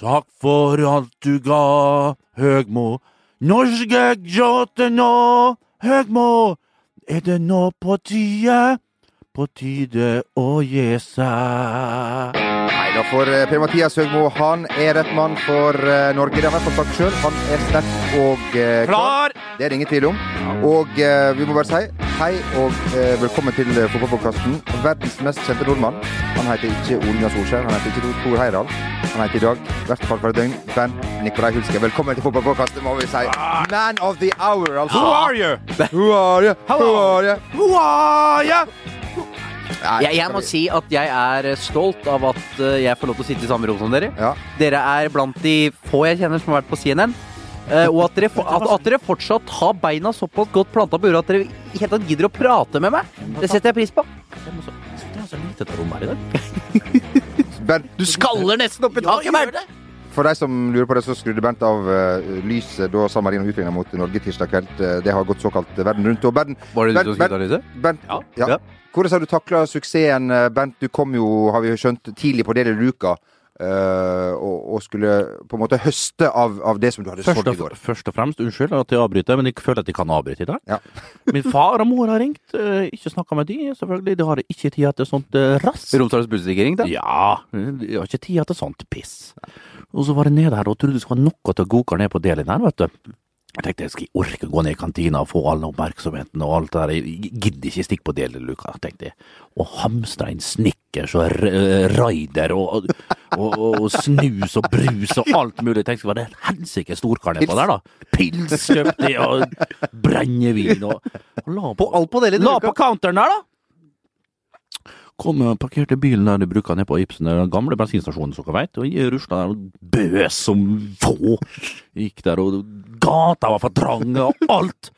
Takk for alt du ga, Høgmo. Norske gråter nå, Høgmo. Er det nå på tide? På tide å gi seg. Nei da, for eh, Per-Mathias Høgmo han er rett mann for eh, Norge. Det har han fått sagt sjøl. Han er sterk og eh, klar. Klar! Det er det ingen tvil om. Og eh, vi må bare si hei og eh, velkommen til eh, fotballpodkasten. Verdens mest kjente nordmann. Han heter ikke Ole Gunnar Solskjær, han heter ikke Tor- Tor Heyerdahl. Han heter i dag, i hvert fall for et døgn, Bernt Nikolai Hulske. Velkommen til fotballpodkasten, må vi si. Man of the hour, altså. Who are you? Who are you? Who are you? Who are you? Nei, Jeg, jeg må si at jeg er stolt av at eh, jeg får lov til å sitte i samme rom som dere. Ja. Dere er blant de få jeg kjenner som har vært på CNN. eh, og at dere, for, at, at dere fortsatt har beina såpass godt planta på jorda at dere i hele tatt gidder å prate med meg. Det setter jeg pris på. Bernt, Du skaller nesten opp i taket, Bernt! For de som lurer på det, så skrudde Bernt av eh, lyset da San Marino utligna mot Norge tirsdag kveld. Eh, det har gått såkalt eh, verden rundt. Og Bernt, Var det du som skulle ta Bernt Ja. ja. Ja. Hvordan har du takla suksessen? eh, Bernt, du kom jo, har vi jo skjønt, tidlig på det i luka. eh, og, og skulle på en måte høste av, av det som du hadde Først solgt i og, går. først og fremst, unnskyld at jeg avbryter, men jeg føler at jeg kan avbryte i dag. Ja. Min far og mor har ringt, eh, ikke snakka med de, selvfølgelig. De har ikke tid til sånt eh, rass. Romsdals Budstikkering, da? Ja, de har ikke tid til sånt piss. Og så var jeg nede her og trodde det skulle være noe til å goke ned på delen her, vet du. Jeg tenkte jeg skal jeg orke å gå ned i kantina og få all oppmerksomheten og alt det der. Jeg gidder ikke stikke på deleluka, tenkte jeg. Og hamstre inn Snickers og r- eh, Raider og, og, og, og snus og brus og alt mulig. Jeg tenkte det var en helsike storkarne på der, da. Pils kjøpte jeg og brennevin og, og la på Alt på delen. La på counteren der, da! Kom og parkerte bilen der de bruker ned på Ibsen, den gamle bensinstasjonen som dere veit, og jeg rusla der og bøs som få. Gikk der, og gata var for trang, og alt.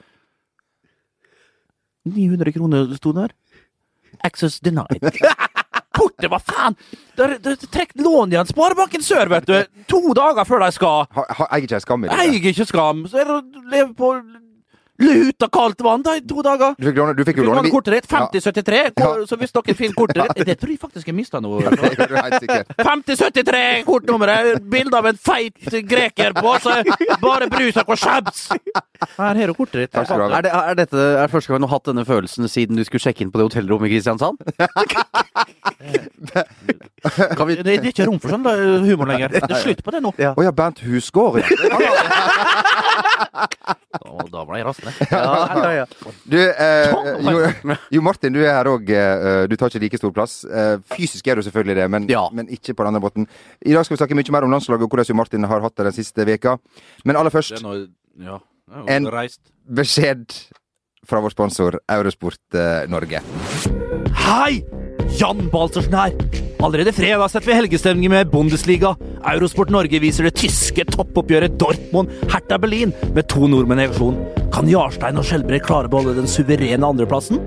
900 kroner sto der. Access denied. Borte, hva faen! Der, der, trekk lån igjen, Sparebanken Sør, vet du! To dager før de skal! Ha- ha- Eier ikke jeg skam i det? Eier ikke skam! Så er det å leve på lut og kaldt vann da, i to dager! Du fikk, låne, du fikk jo Fikk låne låne kortet ditt, 5073, hvor- Ja. så hvis dere finner kortet ditt Det tror jeg faktisk jeg mista nå. Ja, det er helt sikkert. 5073 kortnummeret, bilde av en feit greker på, så bare brus og konsjabs! Her har du kortet ditt. Takk skal du ha. Er, det, er dette er det første gang du har hatt denne følelsen siden du skulle sjekke inn på det hotellrommet i Kristiansand? Kan vi- Det er ikke rom for sånn da, humor lenger. Det er slutt på det nå. Å ja, Bernt Husgaard. ja. Da- Da ble jeg rasende. Du, eh, jo, jo Martin, du er her òg. Eh, du tar ikke like stor plass. Eh, fysisk er du selvfølgelig det, men, Ja. men ikke på den andre måten. I dag skal vi snakke mye mer om landslaget og hvordan jo Martin har hatt det den siste veka. Men aller først, Ja. En- beskjed fra vår sponsor Eurosport eh, Norge. Hei! Jan Baltersen her. Allerede fredag setter vi helgestemning med Bundesliga. Eurosport Norge viser det tyske toppoppgjøret Dortmund-Hertha Berlin med to nordmenn i aksjon. Kan Jarstein og Skjelbred klare å beholde den suverene andreplassen?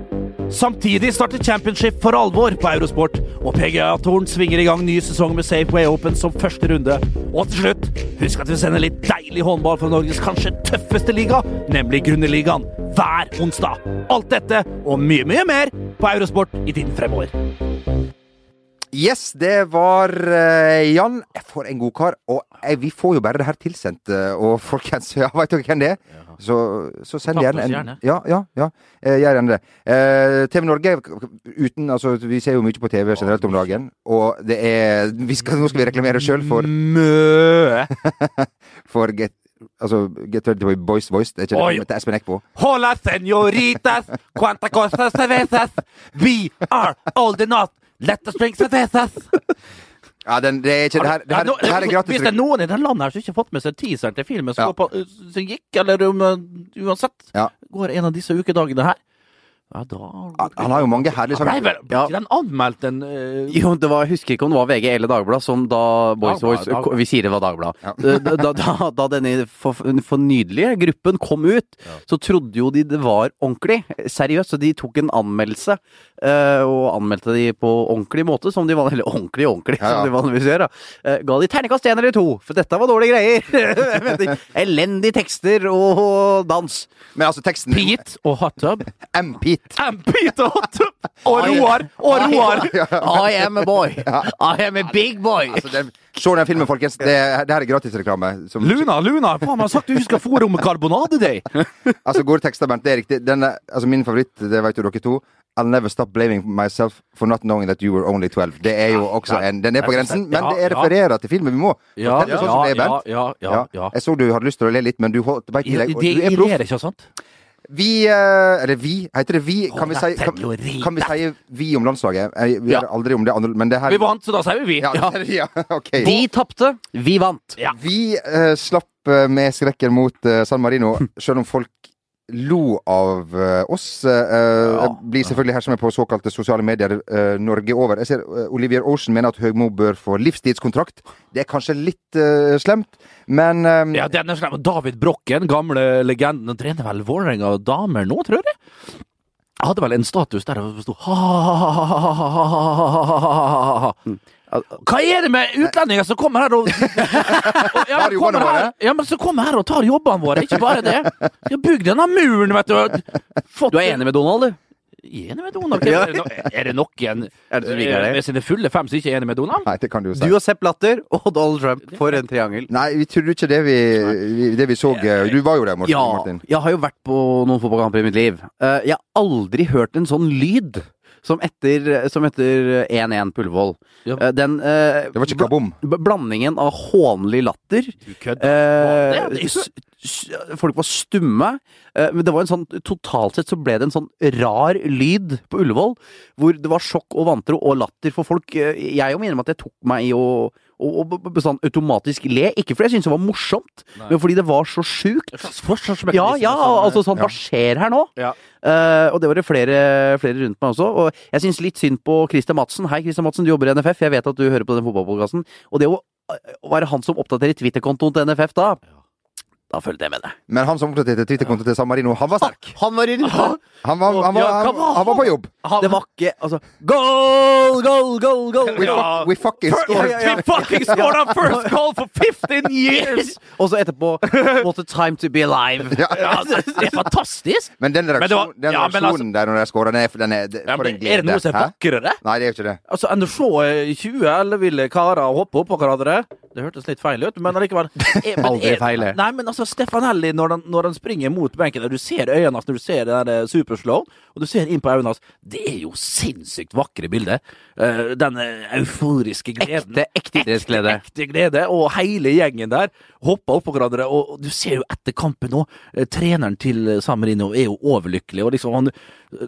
Samtidig starter championship for alvor på Eurosport, og PGA-toren svinger i gang ny sesong med Safeway Open som første runde. Og til slutt, husk at vi sender litt deilig håndball fra Norges kanskje tøffeste liga, nemlig Grunneligaen, hver onsdag. Alt dette og mye, mye mer på Eurosport i tiden fremover. Yes, det var eh, Jan. For en god kar. Og eh, vi får jo bare det her tilsendt, eh, og folkens, ja, veit dere hvem det er? Så, så send Kontakt gjerne oss en gjerne. Ja, ja. ja. Eh, gjør gjerne det. Eh, TV Norge uten Altså, vi ser jo mye på TV generelt om dagen, og det er vi skal, Nå skal vi reklamere sjøl for, Mø! for Get Altså, Get Ready to Be Boys Voice. Det er ikke Oi. det til Espen Eckbo. Hola, senoritas! Quanta cosa cervezas? We are old enough! Let us drink cervezas! Ja, den, det er ikke Det her, det her, Ja, nå- det her er gratis. Hvis det er noen i det landet her som ikke har fått med seg teaseren til filmen som, Ja. går på, som gikk, eller um, uansett, Ja. går en av disse ukedagene her Ja, da Han har jo mange herlige Nei, sanger. vel, ble ikke den anmeldt en eh, Jo, det var, jeg husker ikke om det var VG eller Dagbladet som da Boys Dagbladet, Voice Dagbladet. Vi sier det var Dagbladet. Ja. Da, da, da, da denne for, fornydelige gruppen kom ut, så trodde jo de det var ordentlig. Seriøst. Så de tok en anmeldelse, eh, og anmeldte de på ordentlig måte, som de van- eller ordentlig, ordentlig, Ja, ja. som de vanligvis gjør. Da. Eh, ga de terningkast én eller to, for dette var dårlige greier. Men de- Elendige tekster og dans. Men altså, teksten Pete og Hot Tub. MP. Pete. Ampete og Roar og Roar. I am a boy. I am a big boy. Altså, den, se den filmen, folkens. Det, det her er gratisreklame. som- Luna, Luna, faen, man har sagt du ikke skal få rom med karbonade, deg. Altså, gode tekster, Bernt. Det er riktig. Den er, altså, min favoritt, det vet jo dere to. I'll never stop blaming myself for not knowing that you were only 12. Det er jo også en Den er på grensen, men Ja, det ja. er refererer til filmen. Vi må Ja, fortelle ja, sånn som det er, ja, Bernt. ja, ja, ja. Jeg så du hadde lyst til å le litt, men du holdt veit De i deg. og Du er proff. ler ikke av sånt. Vi eh, Eller vi, heter det vi? Kan vi Å, si, det er kan, teori. kan vi si vi om landslaget? Jeg, vi Ja. har aldri om det andre, men det her Vi vant, så da sier vi vi. Ja, Ja. ja ok. De tapte, vi vant. Ja. Vi eh, slapp eh, med skrekken mot eh, San Marino, selv om folk lo av eh, oss. eh, eh, Ja. Blir selvfølgelig her som er på såkalte sosiale medier eh, Norge over. Jeg ser eh, Olivier Ocean mener at Høgmo bør få livstidskontrakt. Det er kanskje litt eh, slemt, men eh, Ja, den er slem. Og David Brokken, gamle legenden, han trener vel Vålerenga og damer nå, tror jeg. Hadde vel en status der det sto Hva er det med utlendinger som kommer her og ja, men Tar kommer jobbene våre. her, ja, men som kommer her og tar jobbene våre, ikke bare det. De har bygd denne muren, vet du. Fått, Du er enig med Donald, du? Enig med Donald? Er det, no- er det noen Er det som liker det? med sine fulle fem som ikke er enig med Donald? Nei, det kan du jo si. Du og Sepp Latter og Donald Trump, for en triangel. Nei, vi trodde ikke det vi, vi, det vi så eh, Du var jo der, Morten. Ja, Martin. jeg har jo vært på noen fotballkamper i mitt liv. Eh, Jeg har aldri hørt en sånn lyd som etter som etter 1-1 på Ullevål. Ja. Eh, Den eh, Det var ikke kabom. bl- blandingen av hånlig latter Du kødder. Eh, Var det det? s- s- folk var stumme. Eh, men det var en sånn, totalt sett så ble det en sånn rar lyd på Ullevål, hvor det var sjokk og vantro og latter for folk. Eh, jeg jo mener at jeg tok meg i å å- å b- b- sånn automatisk le. Ikke fordi jeg syntes det var morsomt, Nei. men fordi det var så sjukt. En slags forsvarsmekanisme Eh, Ja, ja, som- eh, altså sånn, hva skjer her nå? Ja. Eh, og det var det flere, flere rundt meg også. Og jeg syns litt synd på Christer Madsen. Hei, Christer Madsen, du jobber i NFF. Jeg vet at du hører på den fotballpodkasten. Og det å eh, å være han som oppdaterer Twitter-kontoen til NFF da, da følte jeg med det. Men han som oppdaterte Twitter-kontoen til San Marino, han var sterk. altså, Han var inne! Han var, han var, Ja, han, hva var var- han var på jobb. Det var ikke Altså Goal, goal, goal, goal! We, Ja. fuck, we fucking Fir- scored. ja, ja. We fucking scored our first goal for 15 years! Og så etterpå What a time to be alive. Ja. Ja, det det er fantastisk! Men den Men det var- reaksjonen, den ja, men altså- reaksjonen der når jeg scorer, den er, den er, det- Ja, for en men glede. er det noe som er Hæ? vakrere? Nei, det er jo ikke det. Altså, Enn å se eh, 20 elleville karer hoppe oppå hverandre Det hørtes litt feil ut, men allikevel er- men Aldri er- feil, det. Nei, men altså, Stefanelli, når han, når han springer mot benken, og du ser øynene hans når du ser den der eh, superslow, og du ser inn på øynene hans Det er jo sinnssykt vakre bilder. Eh, Den eh, euforiske gleden. Ekte, ekte idrettsglede. ekte glede, og hele gjengen der hoppa oppå hverandre. Og og du ser jo etter kampen nå, eh, treneren til eh, San Marino er jo overlykkelig. Og liksom han eh,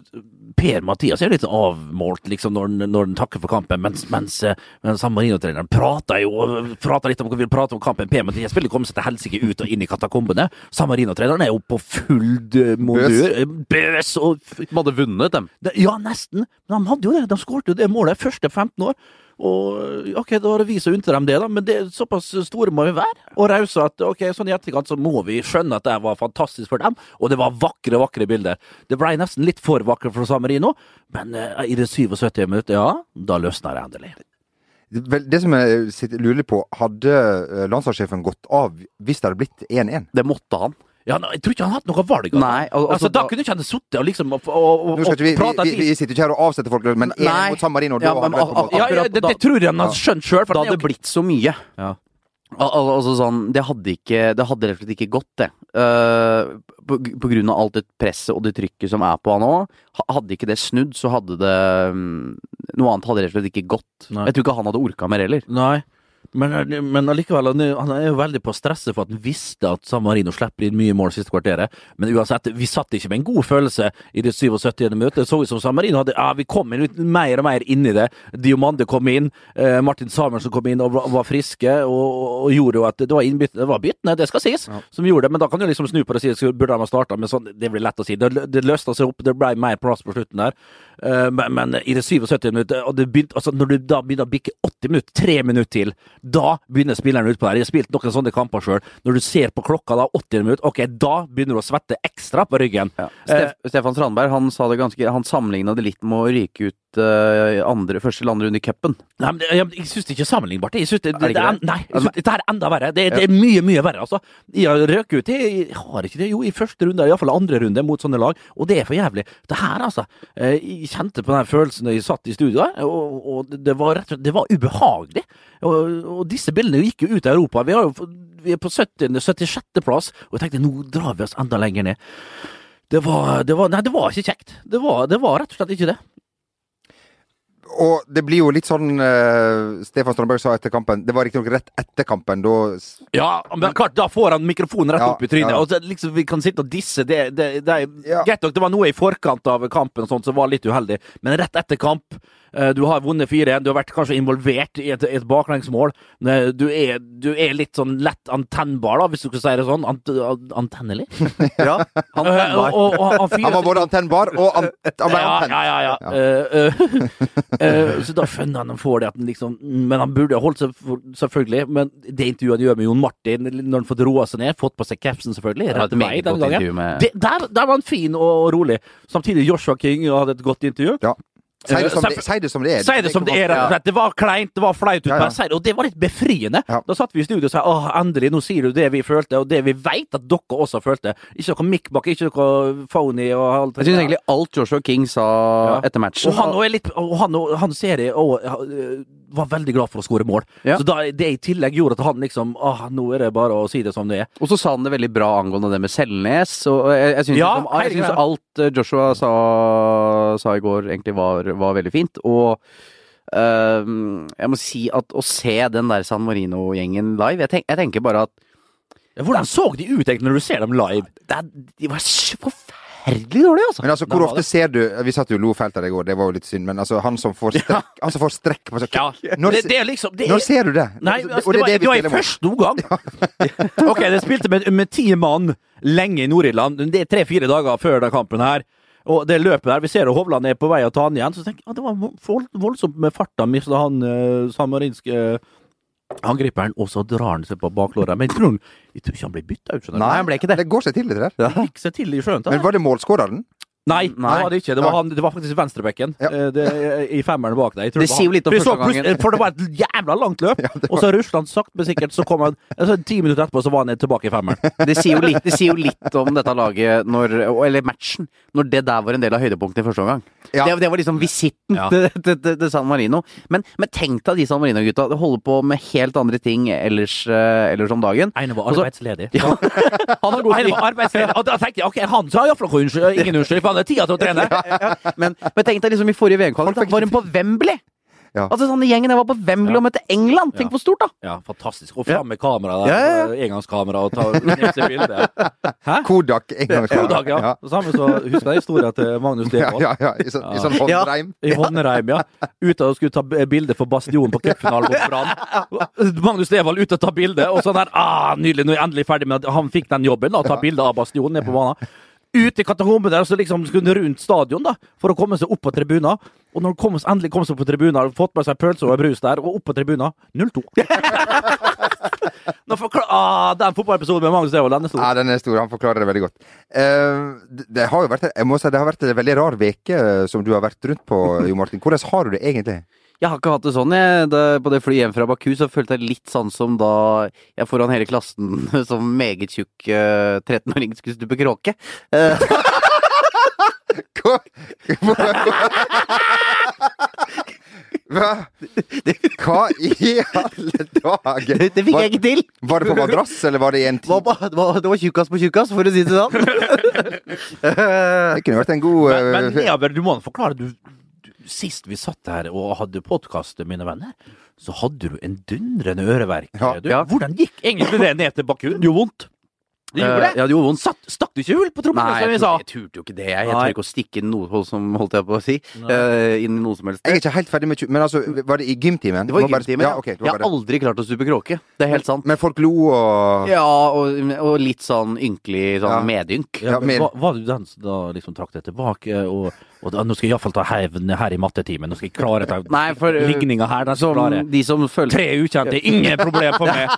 Per Mathias er jo litt avmålt liksom når han, når han takker for kampen, mens, mens, eh, mens San Marino-treneren prater jo eh, prater litt om hva vi prater om kampen. Per Mathias vil jo komme seg til helsike ut og inn i katakombene. San Marino-treneren er jo på full eh, mondur. eh, Bøs og f- De hadde vunnet, dem. det, ja, nesten. Men de hadde jo det. De skårte jo det målet første 15 år. Og OK, da har vi så unnte dem det, da, men det, såpass store må vi være. Og rause at OK, sånn i etterkant så må vi skjønne at det her var fantastisk for dem. Og det var vakre, vakre bilder. Det blei nesten litt for vakkert for San Marino, men eh, i det 77. minuttet, ja, da løsna det endelig. Det, vel, det som jeg eh, sitter- lurer litt på, hadde eh, landslagssjefen gått av hvis det hadde blitt 1-1? Det måtte han. Ja, nei, jeg tror ikke han hadde hatt noe valg. Altså. Nei, al- altså, da, altså, da- kunne ikke han sittet og liksom og, og, og, Nå skal og ikke vi, prata vi, vi, vi sitter ikke her og avsetter folk, men 1 Nei. mot San Marino, da Ja, hadde men det vært på ak- båten. Ja, ja, det, det tror jeg han hadde skjønt sjøl. Da hadde det blitt så mye. Ja. Al al altså sånn, det hadde, ikke, det hadde rett og slett ikke gått, det. Eh, på, på grunn av alt det presset og det trykket som er på han òg. Hadde ikke det snudd, så hadde det mm, Noe annet hadde rett og slett ikke gått. Nei. Jeg tror ikke han hadde orka mer heller. Nei, men, men allikevel, han er- han er jo veldig på stresset for at han visste at San Marino slipper inn mye mål siste kvarteret. Men uansett, vi satt ikke med en god følelse i det 77. minuttet. Det så ut som San Marino hadde ja, Vi kom inn litt mer og mer inn i det. Diomande kom inn, eh, Martin Samuelsen kom inn og var, var friske, og, og gjorde jo at det var innbytt- det var byttene, det skal sies, som gjorde det. Men da kan du liksom snu på det og si så burde de ha starta, men sånn, det blir lett å si. Det, det løste seg opp, det ble mer plass på slutten der. Eh, men, men i det 77. minuttet, og det begynte, altså, når du da begynner å bikke 80 minutter, tre minutter til, da begynner spilleren utpå der. Jeg har spilt noen sånne kamper sjøl. Når du ser på klokka da, 80 minutter, ok, da begynner du å svette ekstra på ryggen. Eh, Eh, Steff- Stefan Strandberg han sa det ganske Han sammenligna det litt med å ryke ut møtte eh, andre, første eller andre runde i cupen. Nei, men det- jeg, jeg syns det ikke er sammenlignbart. Jeg synes det, det, Er det det ikke er, det? Altså- nei, jeg synes dette her er enda verre. Det, det er mye, mye verre, altså. Jeg røk ut i jeg har ikke det, jo, i første runde, iallfall andre runde, mot sånne lag, og det er for jævlig. Det her, altså. eh, Jeg kjente på den her følelsen da jeg satt i studio, her, og, og det var rett og slett Det var ubehagelig. Og, og disse bildene gikk jo ut av Europa. Vi, har jo, fått- vi er på 70, 76. plass, og jeg tenkte nå drar vi oss enda lenger ned. Det var, det var Nei, det var ikke kjekt. Det var, det var rett og slett ikke det. Og det blir jo litt sånn eh, Stefan Strandberg sa etter kampen Det var riktignok rett etter kampen, da s- Ja, men klart, da får han mikrofonen rett Ja, opp i trynet. ja. Og så liksom, vi kan sitte og disse. Det, det, det, er- Ja. Greit nok, det var noe i forkant av kampen og sånt som var litt uheldig, men rett etter kamp eh, Du har vunnet 4-1, du har vært kanskje involvert i et, et baklengsmål. Ne, Du er, du er litt sånn lett antennbar, da, hvis du skal si det sånn. Ant, an- antennelig? Ja, han Eh, og, og, og han fyren Han var både antennbar og an han ble ja, antent. ja, ja, ja. Ja. Eh, eh, eh, så da skjønner han han får det at han liksom Men han burde ha holdt seg, for, selvfølgelig. Men det intervjuet han gjør med Jon Martin, når han fått roa seg ned, fått på seg capsen, selvfølgelig, hadde rett et vei meget den godt gangen. intervju med Det, der, der var han fin og rolig. Samtidig Joshua King hadde et godt intervju. Si det som Eh, det- Si det som det er. Si det som det er, rett og slett. Det var kleint, det var flaut, Ja, ja. men si det. og det var litt befriende. Ja. Da satt vi i studio og sa åh, endelig, nå sier du det vi følte, og det vi veit at dere også følte. Ikke noe mikkbakk, ikke noe phony og alt Jeg syns egentlig alt Joshua King sa Ja. etter matchen Og han, også er litt, og han, og- han ser det, og eh, var veldig glad for å skåre mål. Ja. Så da, det i tillegg gjorde at han liksom Åh, nå er det bare å si det som det er. Og så sa han det veldig bra angående det med Selnes. Og jeg, jeg syns Ja, liksom, jeg hele syns greia. alt eh, Joshua sa, sa i går, egentlig var, var veldig fint. Og eh, jeg må si at å se den der San Marino-gjengen live jeg, tenk, jeg tenker bare at Ja, Hvordan så de ut egentlig når du ser dem live? det, er- de var så forferdelig dårlige, altså! Men altså, hvor Nei, det- ofte ser du Vi satt jo og lo fælt av det i går, det var jo litt synd, men altså, han som får strekk, han som får strekk på seg Når, det, det er liksom det er, når ser du det? Nei, Og altså, det, var, det var i første omgang. ok, det spilte med, med ti mann lenge i Nord-Irland. Det er tre-fire dager før den kampen her. Og det løpet her, Vi ser at Hovland er på vei å ta han igjen. Så tenker jeg, ja, Det var vold- voldsomt med farta, mista han eh, samarinske eh, angriperen. Og så drar han seg på baklåret. Men jeg tror, han- jeg tror ikke han ble bytta ut. skjønner du. Nei, han ble ikke det. Det går seg til litt der. Han fikk seg til i sjøen. Men var det målskåreren? Nei, Nei. det var det ikke. Det var, han, det var faktisk venstrebekken Ja. eh, det- i femmeren bak deg. Jeg tror Det var sier jo han. litt om Vi så første gangen. plutselig- For det var et jævla langt løp, og så ruslet han sakte, men sikkert. Så kom han altså, Ti minutter etterpå så var han tilbake i femmeren. Det sier jo litt, det sier jo litt om dette laget, når, eller matchen, når det der var en del av høydepunktet i første omgang. Ja. Det, det var liksom visitten Ja. til, til, til, til San Marino. Men, men tenk deg de San Marino-gutta. De holder på med helt andre ting ellers, eh, ellers om dagen. Ene var Altså- arbeidsledig. Ja. Han har gått Ene var arbeidsledig. Og da tenkte jeg ok, han sa iallfall unnskyld. eh, Ingen unnskyld, for han hadde tida til å trene. Men, men tenk deg liksom i forrige VM-kvalik, da Folk fikk- var hun på Wembley! Ja. Altså sånn Gjengen der var på Wembley og møtte England! Tenk Ja. hvor stort, da! Ja, fantastisk. Og fram med kamera der. eh, Ja, ja, ja. Engangskamera og ta knipse bilde. Kodak en gang. To dager, ja. Det Samme så husker jeg historien til Magnus Ja, Devold. ja, ja, I sånn, i sånn Ja. håndreim. I Håndreim, ja. Ute og skulle ta b- bilde for Bastionen på cupfinalen mot Brann. Magnus Devold ute og tar bilde, og sånn der ah, Nydelig, nå er jeg endelig ferdig med at han fikk den jobben, da, å ta bilde av Bastionen nede på banen. Ut i katakomben der, så liksom skulle han rundt stadion da, for å komme seg opp på tribunen. Og når han kom, endelig kom seg opp på tribunen, hadde fått med seg pølse og brus der, og opp på tribunen 0-2. Nå forklar- ah, den fotballepisoden med Magnus Devold, den er stor. Ja, den er stor. Han forklarer det veldig godt. Eh, det- det har jo vært, jeg må si, det har vært en veldig rar veke eh, som du har vært rundt på, Jo Martin. Hvordan har du det egentlig? Jeg har ikke hatt det sånn. Jeg, da, på det flyet hjem fra Baku så følte jeg litt sånn som da jeg foran hele klassen som meget tjukk eh, 13-åring skulle stupe kråke. Eh, Hva? Hva? Hva i alle dager? det fikk jeg ikke til! Var det på madrass, eller var det i en Det var, tid? bare- det var, det var tjukkas på tjukkas, for å si det sånn. Det kunne vært en god Men, men eh, nedover, du må forklare du, du, Sist vi satt her og hadde podkast, mine venner, så hadde du en dundrende øreverk. Ja, du. ja. Hvordan gikk egentlig det ned til Baku? Det gjorde vondt. Det gjorde Eh, det. Ja, det gjorde vondt. Satt, stakk du ikke hull på trommen, Nei, som jeg vi sa? turte, jeg turte jo ikke det. Jeg, jeg Nei. turte ikke å stikke inn noe som holdt jeg på å si. Nei. eh, inn i noe som helst. Jeg er ikke helt ferdig med tju- Men altså, var det i gymtimen? Det var Du må bare- gymtimen. Ja, ok, det jeg var har bare... aldri klart å stupe kråke. Det er helt sant. Men folk lo og Ja, og, og litt sånn ynkelig sånn Ja. medynk. Ja, men- var, var du den som da liksom trakk deg tilbake og Og da, nå skal jeg iallfall ta hevn her i mattetimen. Nå skal jeg klare dette. Nei, for eh, Ligninga her, den skal som klare. de som følger Tre ukjente, ingen problem for meg.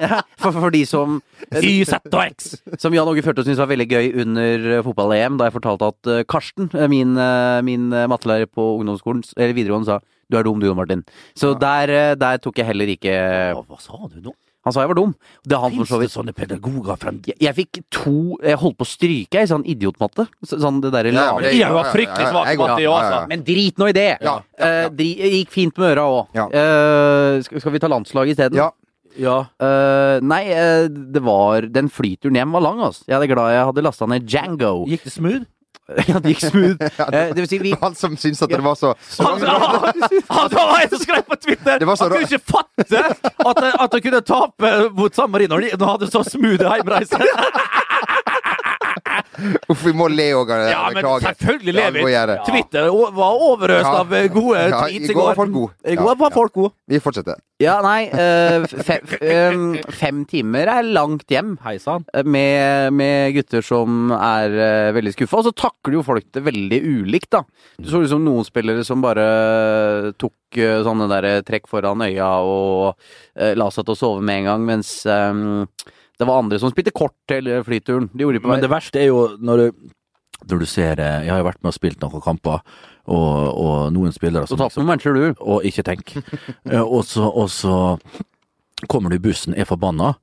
for, for de som, Y, Z og X. som Jan Åge Førte syntes var veldig gøy under eh, fotball-EM, da jeg fortalte at eh, Karsten, eh, min, eh, min eh, mattelærer på ungdomsskolen, s- eller videregående, sa du er dum du, Martin. Så der, eh, der tok jeg heller ikke Hva, hva sa du nå? Han sa jeg var dum. Det er han for Fins så det vidt. sånne pedagoger fremdeles? Jeg, jeg fikk to Jeg holdt på å stryke jeg, i sånn idiotmatte. Så- Sånn det derre Ja, lave men det- Jeg var fryktelig svak Jeg på går- matte, jeg ja, også. ja, ja. Men drit nå i det! Ja, ja, ja. Eh, dri- det gikk fint med øra òg. Ja. skal, skal vi ta landslaget isteden? Ja. Ja. Eh, nei, eh, det var Den flyturen hjem var lang, altså. Jeg er glad jeg hadde lasta ned Django. Gikk det smooth? ja, det gikk smooth. Eh, det vil si, vi Han som syntes at det var så Han var en som skrev på Twitter Det var så Han kunne ikke fatte at de, at de kunne tape mot San Marino når de når de hadde så smooth heimreise. Uff, vi må le òg. Ja, men selvfølgelig Ja, lever vi må gjøre vi. det. Twitter o- var overøst Ja. av eh, gode Ja, i tweets går var folk gode. I går Ja, var ja. folk gode. Vi fortsetter. Ja, nei. eh, fem, em, fem timer er langt hjem. Hei sann. eh, Med, med gutter som er eh, veldig skuffa. Og så takler jo folk det veldig ulikt, da. Du så liksom noen spillere som bare tok eh, sånne der trekk foran øya og eh, la seg til å sove med en gang, mens em, det var andre som spilte kort hele flyturen. De gjorde det på Men det verste er jo når du når du ser eh, Jeg har jo vært med og spilt noen kamper, og, og noen spillere Så som tapte noen matcher, du. og ikke tenk. Eh, Og så, og så kommer du i bussen, er forbanna,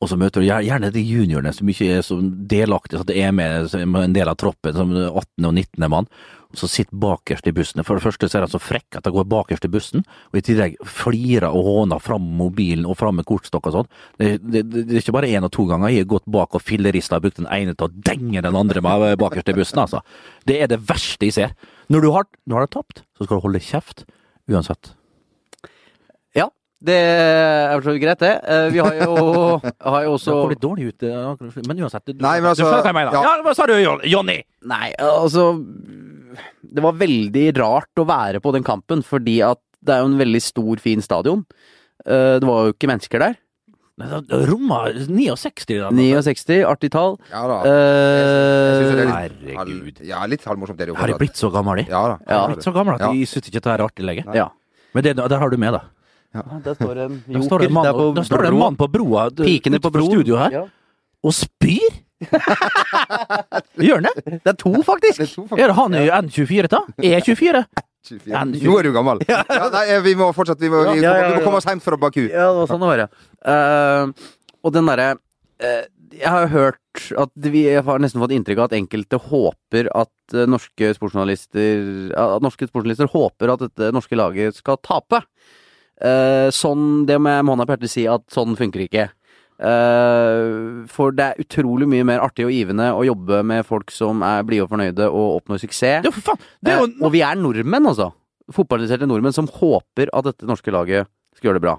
og så møter du gjer- gjerne de juniorene som ikke er så delaktige, så at det er med som en del av troppen, som 18. og 19. mann, og så sitter bakerst i bussen. For det første så er de så frekke at de går bakerst i bussen, og i tillegg flirer og håner fram med mobilen og fram med kortstokk og sånn. Det, det, det det er ikke bare én og to ganger jeg har gått bak og fillerista og brukt den ene til å denge den andre med bakerst i bussen, altså. Det er det verste jeg ser. Når du har, når du har tapt, så skal du holde kjeft. Uansett. Ja, det er for så vidt greit, det. Eh, Vi har jo, har jo også Det kom litt dårlig ut, eh, men uansett. Du, Nei, men altså- du skjønner hva jeg mener. ja. Ja, hva sa du, Jon- Jonny? Nei, altså Det var veldig rart å være på den kampen, fordi at det er jo en veldig stor, fin stadion. Eh, Det var jo ikke mennesker der. Nei, da- Romma 69 da. 69, artig tall. Ja da. Jeg synes det er Eh, litt Herregud. halv- Ja, litt halvmorsomt det du Har de blitt Sånn. så gamle, de? Ja da. Har Ja. de blitt så gamle at Ja. de syns ikke dette er artig lenger? Ja. Men det, der har du med, da. Der står en Der står det en joker. mann, der på der står det en broa. mann på broa d- Pikene på utenfor broen. studio her, Ja. og spyr! Gjør han det? Det er to, faktisk! Det er to, faktisk. Er det han i N24, da? E E24? 24. Nå er du gammel. Ja, nei, eh, vi må fortsette. Vi må, vi, Ja, ja, ja, vi må ja. komme oss hjem fra Baku. Ja, det var sånn det var, ja. Eh, og den derre eh, Jeg har jo hørt at vi jeg har nesten fått inntrykk av at enkelte håper at eh, norske sportsjournalister At norske sportsjournalister håper at dette norske laget skal tape. Eh, sånn Det må jeg med hånda på hjertet si at sånn funker ikke. Eh, for det er utrolig mye mer artig og givende å jobbe med folk som er blide og fornøyde og oppnår suksess. Ja, for faen! Det er jo Eh, og vi er nordmenn, altså. Fotballinteresserte nordmenn som håper at dette norske laget skal gjøre det bra.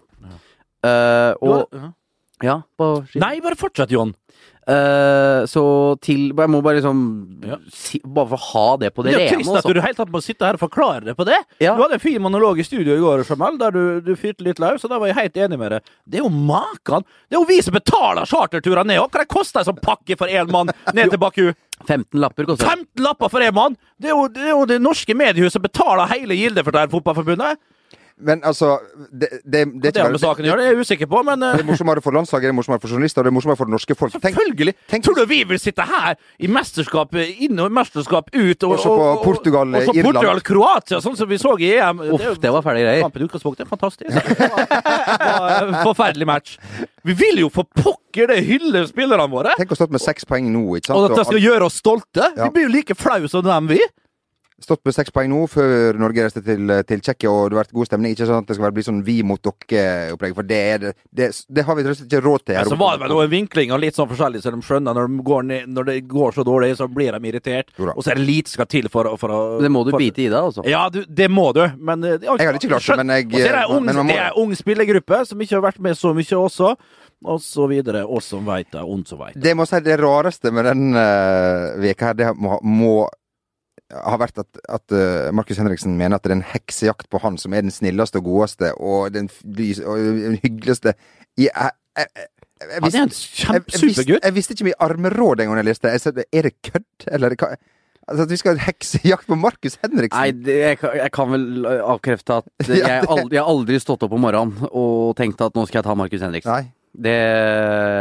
Eh, og Ja, på ski. Nei, bare fortsett, Jon. Eh, så til Jeg må bare liksom Ja. si, Bare for å ha det på Det det er rene. trist at altså. du helt tatt må sitte her og forklare deg på det. Ja. Du hadde en fin monolog i studio i går, Jamal, der du, du fyrte litt løs, og da var jeg helt enig med deg. Det er jo makan! Det er jo vi som betaler charterturene ned, og hva det koster en sånn pakke for én mann ned til Baku? 15 lapper koster det. 15 lapper for én mann! Det er jo det, er jo det norske mediehuset som betaler hele gildet for det her fotballforbundet. Men altså Det, det, det, er Det ikke har med bare- saken å gjøre, det er jeg usikker på, men eh, det er morsommere for landslaget, det er morsommere for journalister, og det er morsommere for det norske folk. Tenk, Selvfølgelig! tenk- Tror du vi vil sitte her i mesterskap inn og mesterskap ut og Og se på Portugal, og så Irland. Portugal, Kroatia, sånn som vi så i EM. Uff, er jo- det var fæle greier. Kampen i utgangspunktet er fantastisk. Det var en Forferdelig match. Vi vil jo for pokker det hylle spillerne våre! tenk å stått med seks poeng nå, ikke sant? Og at de skal gjøre oss stolte! Ja. Vi blir jo like flaue som dem, vi! Stått med seks poeng nå før Norge reiste til, til Tsjekkia, og det har vært god stemning. Ikke sånn at det skal være- bli sånn vi mot dere-opplegg, for det, er det, det, det har vi rett og slett ikke råd til. her Så oppe. var det vel noen vinklinger litt sånn forskjellig, så de skjønner når, de går ned, når det går så dårlig, så blir de irritert. Jo da. Og så er det lite som skal til for, å- for å Det må du for- bite i deg, altså. Ja, du, det må du, men eh, Jeg hadde ikke klart det, men Og jeg- eh, så er det en ung, men man må- det er en ung spillergruppe som ikke har vært med så mye også, og så videre. Og som veit det, og som veit det. Det må jeg si det rareste med den eh, veka her, det må, må ha vært at, at eh, Markus Henriksen mener at det er en heksejakt på han som er den snilleste og godeste og den, f- lys, og den hyggeligste jeg, jeg, jeg, jeg, eh, jeg, Han er visste- en jeg, jeg, visste- kjempesupergutt! jeg visste ikke mye armeråd en gang jeg leste. Jeg sa, er det kødd, eller hva? Altså, at vi skal ha heksejakt på Markus Henriksen? Nei, det, jeg, kan- jeg kan vel eh, avkrefte at jeg, Ja, det- aldri, jeg har aldri stått opp om morgenen og tenkt at nå skal jeg ta Markus Henriksen. Nei. Det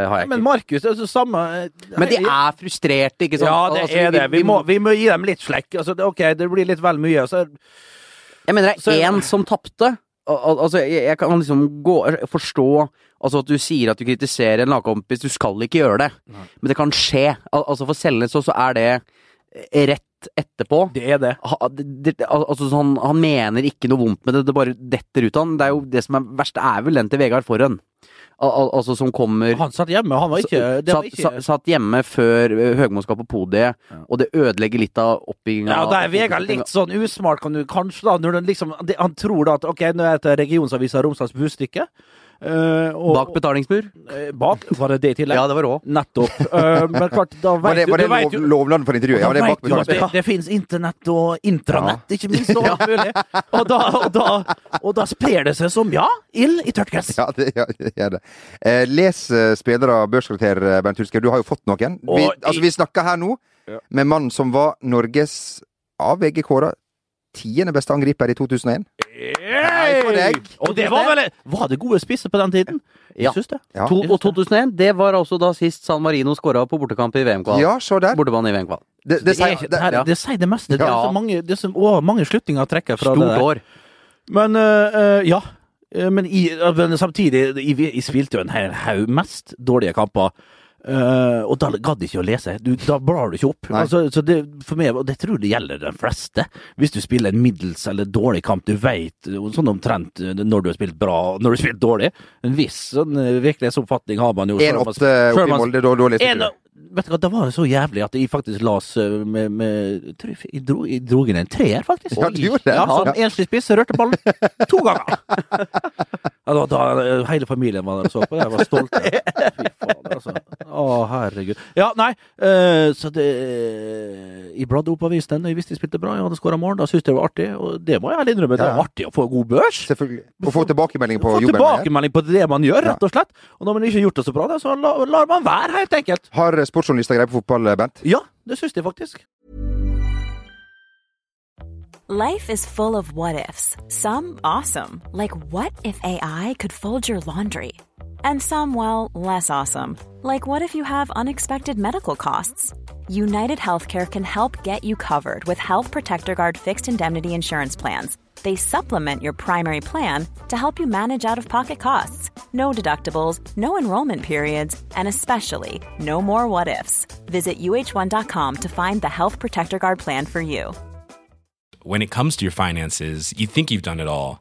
har jeg Men ikke. Markus det er jo samme eh, Men de er frustrerte, ikke sant? Ja, det Altså, er det. Vi må, vi må gi dem litt slekk. Altså, det- OK, det blir litt vel mye. Så Jeg mener det Så- er én som tapte. Al- al- Altså, jeg, jeg kan liksom gå, forstå altså at du sier at du kritiserer en lagkompis. Du skal ikke gjøre det, men det kan skje. Al altså For Selnes så, så er det rett etterpå. det er det. Ha- det, det, al- altså sånn, Han mener ikke noe vondt med det, det bare detter ut av han. Det er jo det som er verst, er vel den til Vegard Forhen. Al al altså som kommer Han satt hjemme, han var ikke, det var satt, ikke sa- satt hjemme før eh, Høgmo skal på podiet, og det ødelegger litt av oppbygginga. Ja, da er Vegard litt sånn usmart, kan du kanskje, da. Når den liksom, det- han tror da at OK, nå er dette regionsavisa Romsdals Budstikke. eh, og, Bak betalingsmur? eh, bak? Var det det i tillegg? Ja, det var rå. Nettopp. Eh, men klart, da Var vet det, du, var du det vet lov, jo lovland for intervjuet? Ja, det er vet jo at det, bakbetalingsmur. det finnes internett og intranett, ikke minst, og alt mulig. Og da, og, da, og da sprer det seg som, ja, ild i tørt gress. Ja, det ja, det er det. Eh, les eh, spillere og børskarakter, eh, Bernt Hulsker. Du har jo fått noen. Vi, Og i- altså, vi snakker her nå med mannen som var Norges, av VG kåra, tiende beste angriper i 2001. Hei for deg. Og det var vel Var det gode spisser på den tiden? Ja. Jeg syns det. Ja, To, og 2001, det var altså da sist San Marino skåra på bortekamp i VM-kval. ja se der. Bortebane i VM-kval. Det, Det, det, sier- er, det, det, her, ja. det sier det meste. Det er Ja. så mange, det er så, å, mange slutninger å trekke fra Stort det. der. år. Men øh, øh, ja. Eh, Men, i, øh, men samtidig, jeg, jeg spilte jo en hel haug mest dårlige kamper. Eh, og da gadd jeg ikke å lese. Du, da blar du ikke opp. Nei. Altså, så det, for meg, og det tror jeg det gjelder de fleste. Hvis du spiller en middels eller dårlig kamp, du veit sånn omtrent eh, når du har spilt bra og når du har spilt dårlig. En viss sånn eh, virkelighetsoppfatning har man jo. selv om man- 1-8 oppe selv om i man- eh, Molde, da, da leste en, du. vet du hva, Det var jo så jævlig at jeg faktisk las eh, med, med jeg tror jeg, jeg dro, jeg dro inn en treer, faktisk. Ja, du gjorde det. Ja, sånn Enslig spiss rørte ballen to ganger. Ja, da, da, eh, hele familien var der og så på. Jeg var stolt. Fy faen, altså. Å, herregud. Ja, nei, eh, så det Jeg bladde opp avisen, og jeg visste jeg spilte bra, jeg hadde skåra mål, da syntes jeg det var artig, og det må jeg ærlig innrømme, det Ja, ja. var artig å få god børs. Selvfølgelig. Å få tilbakemelding på Få jobben. man gjør. tilbakemelding på det man gjør, rett og slett. Og når man ikke har gjort det så bra, da, så la, lar man være, helt enkelt. Har eh, sportsjournalister greie på fotball, eh, Bent? Ja, det syns jeg faktisk. Life is full of what ifs. Some awesome, like what if AI could fold your laundry? And some, well, less awesome, like what if you have unexpected medical costs? United Healthcare can help get you covered with Health Protector Guard fixed indemnity insurance plans. They supplement your primary plan to help you manage out of pocket costs. No deductibles, no enrollment periods, and especially no more what ifs. Visit uh1.com to find the Health Protector Guard plan for you. When it comes to your finances, you think you've done it all.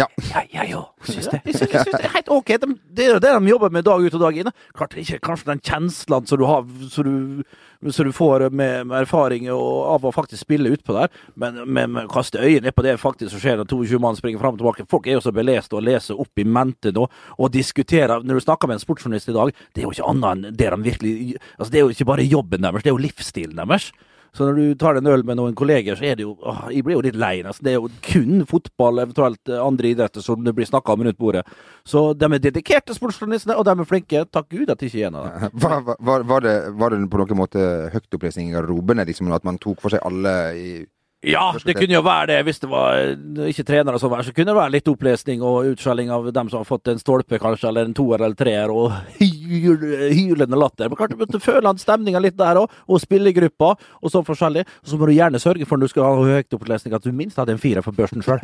Ja. Ja, ja, ja. Syns det. Jeg syns, jeg syns det er helt OK. De, det er jo det de jobber med dag ut og dag inn. Klart det ikke kanskje den kjenslen som du har som du, som du får med, med erfaring og, av å faktisk spille utpå der, men, men, men kaste øynene på det faktisk som skjer når 22 mann springer fram og tilbake. Folk er jo så beleste og leser opp i mente nå og diskuterer. Når du snakker med en sportsjournalist i dag, det er jo ikke annet enn det de virkelig Altså, det er jo ikke bare jobben deres, det er jo livsstilen deres. Så når du tar en øl med noen kolleger, så er det jo åh, Jeg blir jo litt lei, nesten. Det er jo kun fotball, eventuelt eh, andre idretter, som det blir snakka om rundt bordet. Så de er dedikerte sportsjournalistene, og de er flinke. Takk Gud at det ikke er en av dem. Var, var, var, det, var det på noen måte høytopplesning i garderobene? Liksom, at man tok for seg alle i Ja, det kunne jo være det. Hvis det var eh, ikke trenere som var her, så kunne det være litt opplesning og utskjelling av dem som har fått en stolpe, kanskje, eller en toer eller treer, og hyl, hylende latter. Men kanskje du føler at stemninga litt der òg, og spillergruppa, og sånn forskjellig. Og så må du gjerne sørge for når du skal ha høytopplesning, at du minst hadde en firer på børsen sjøl.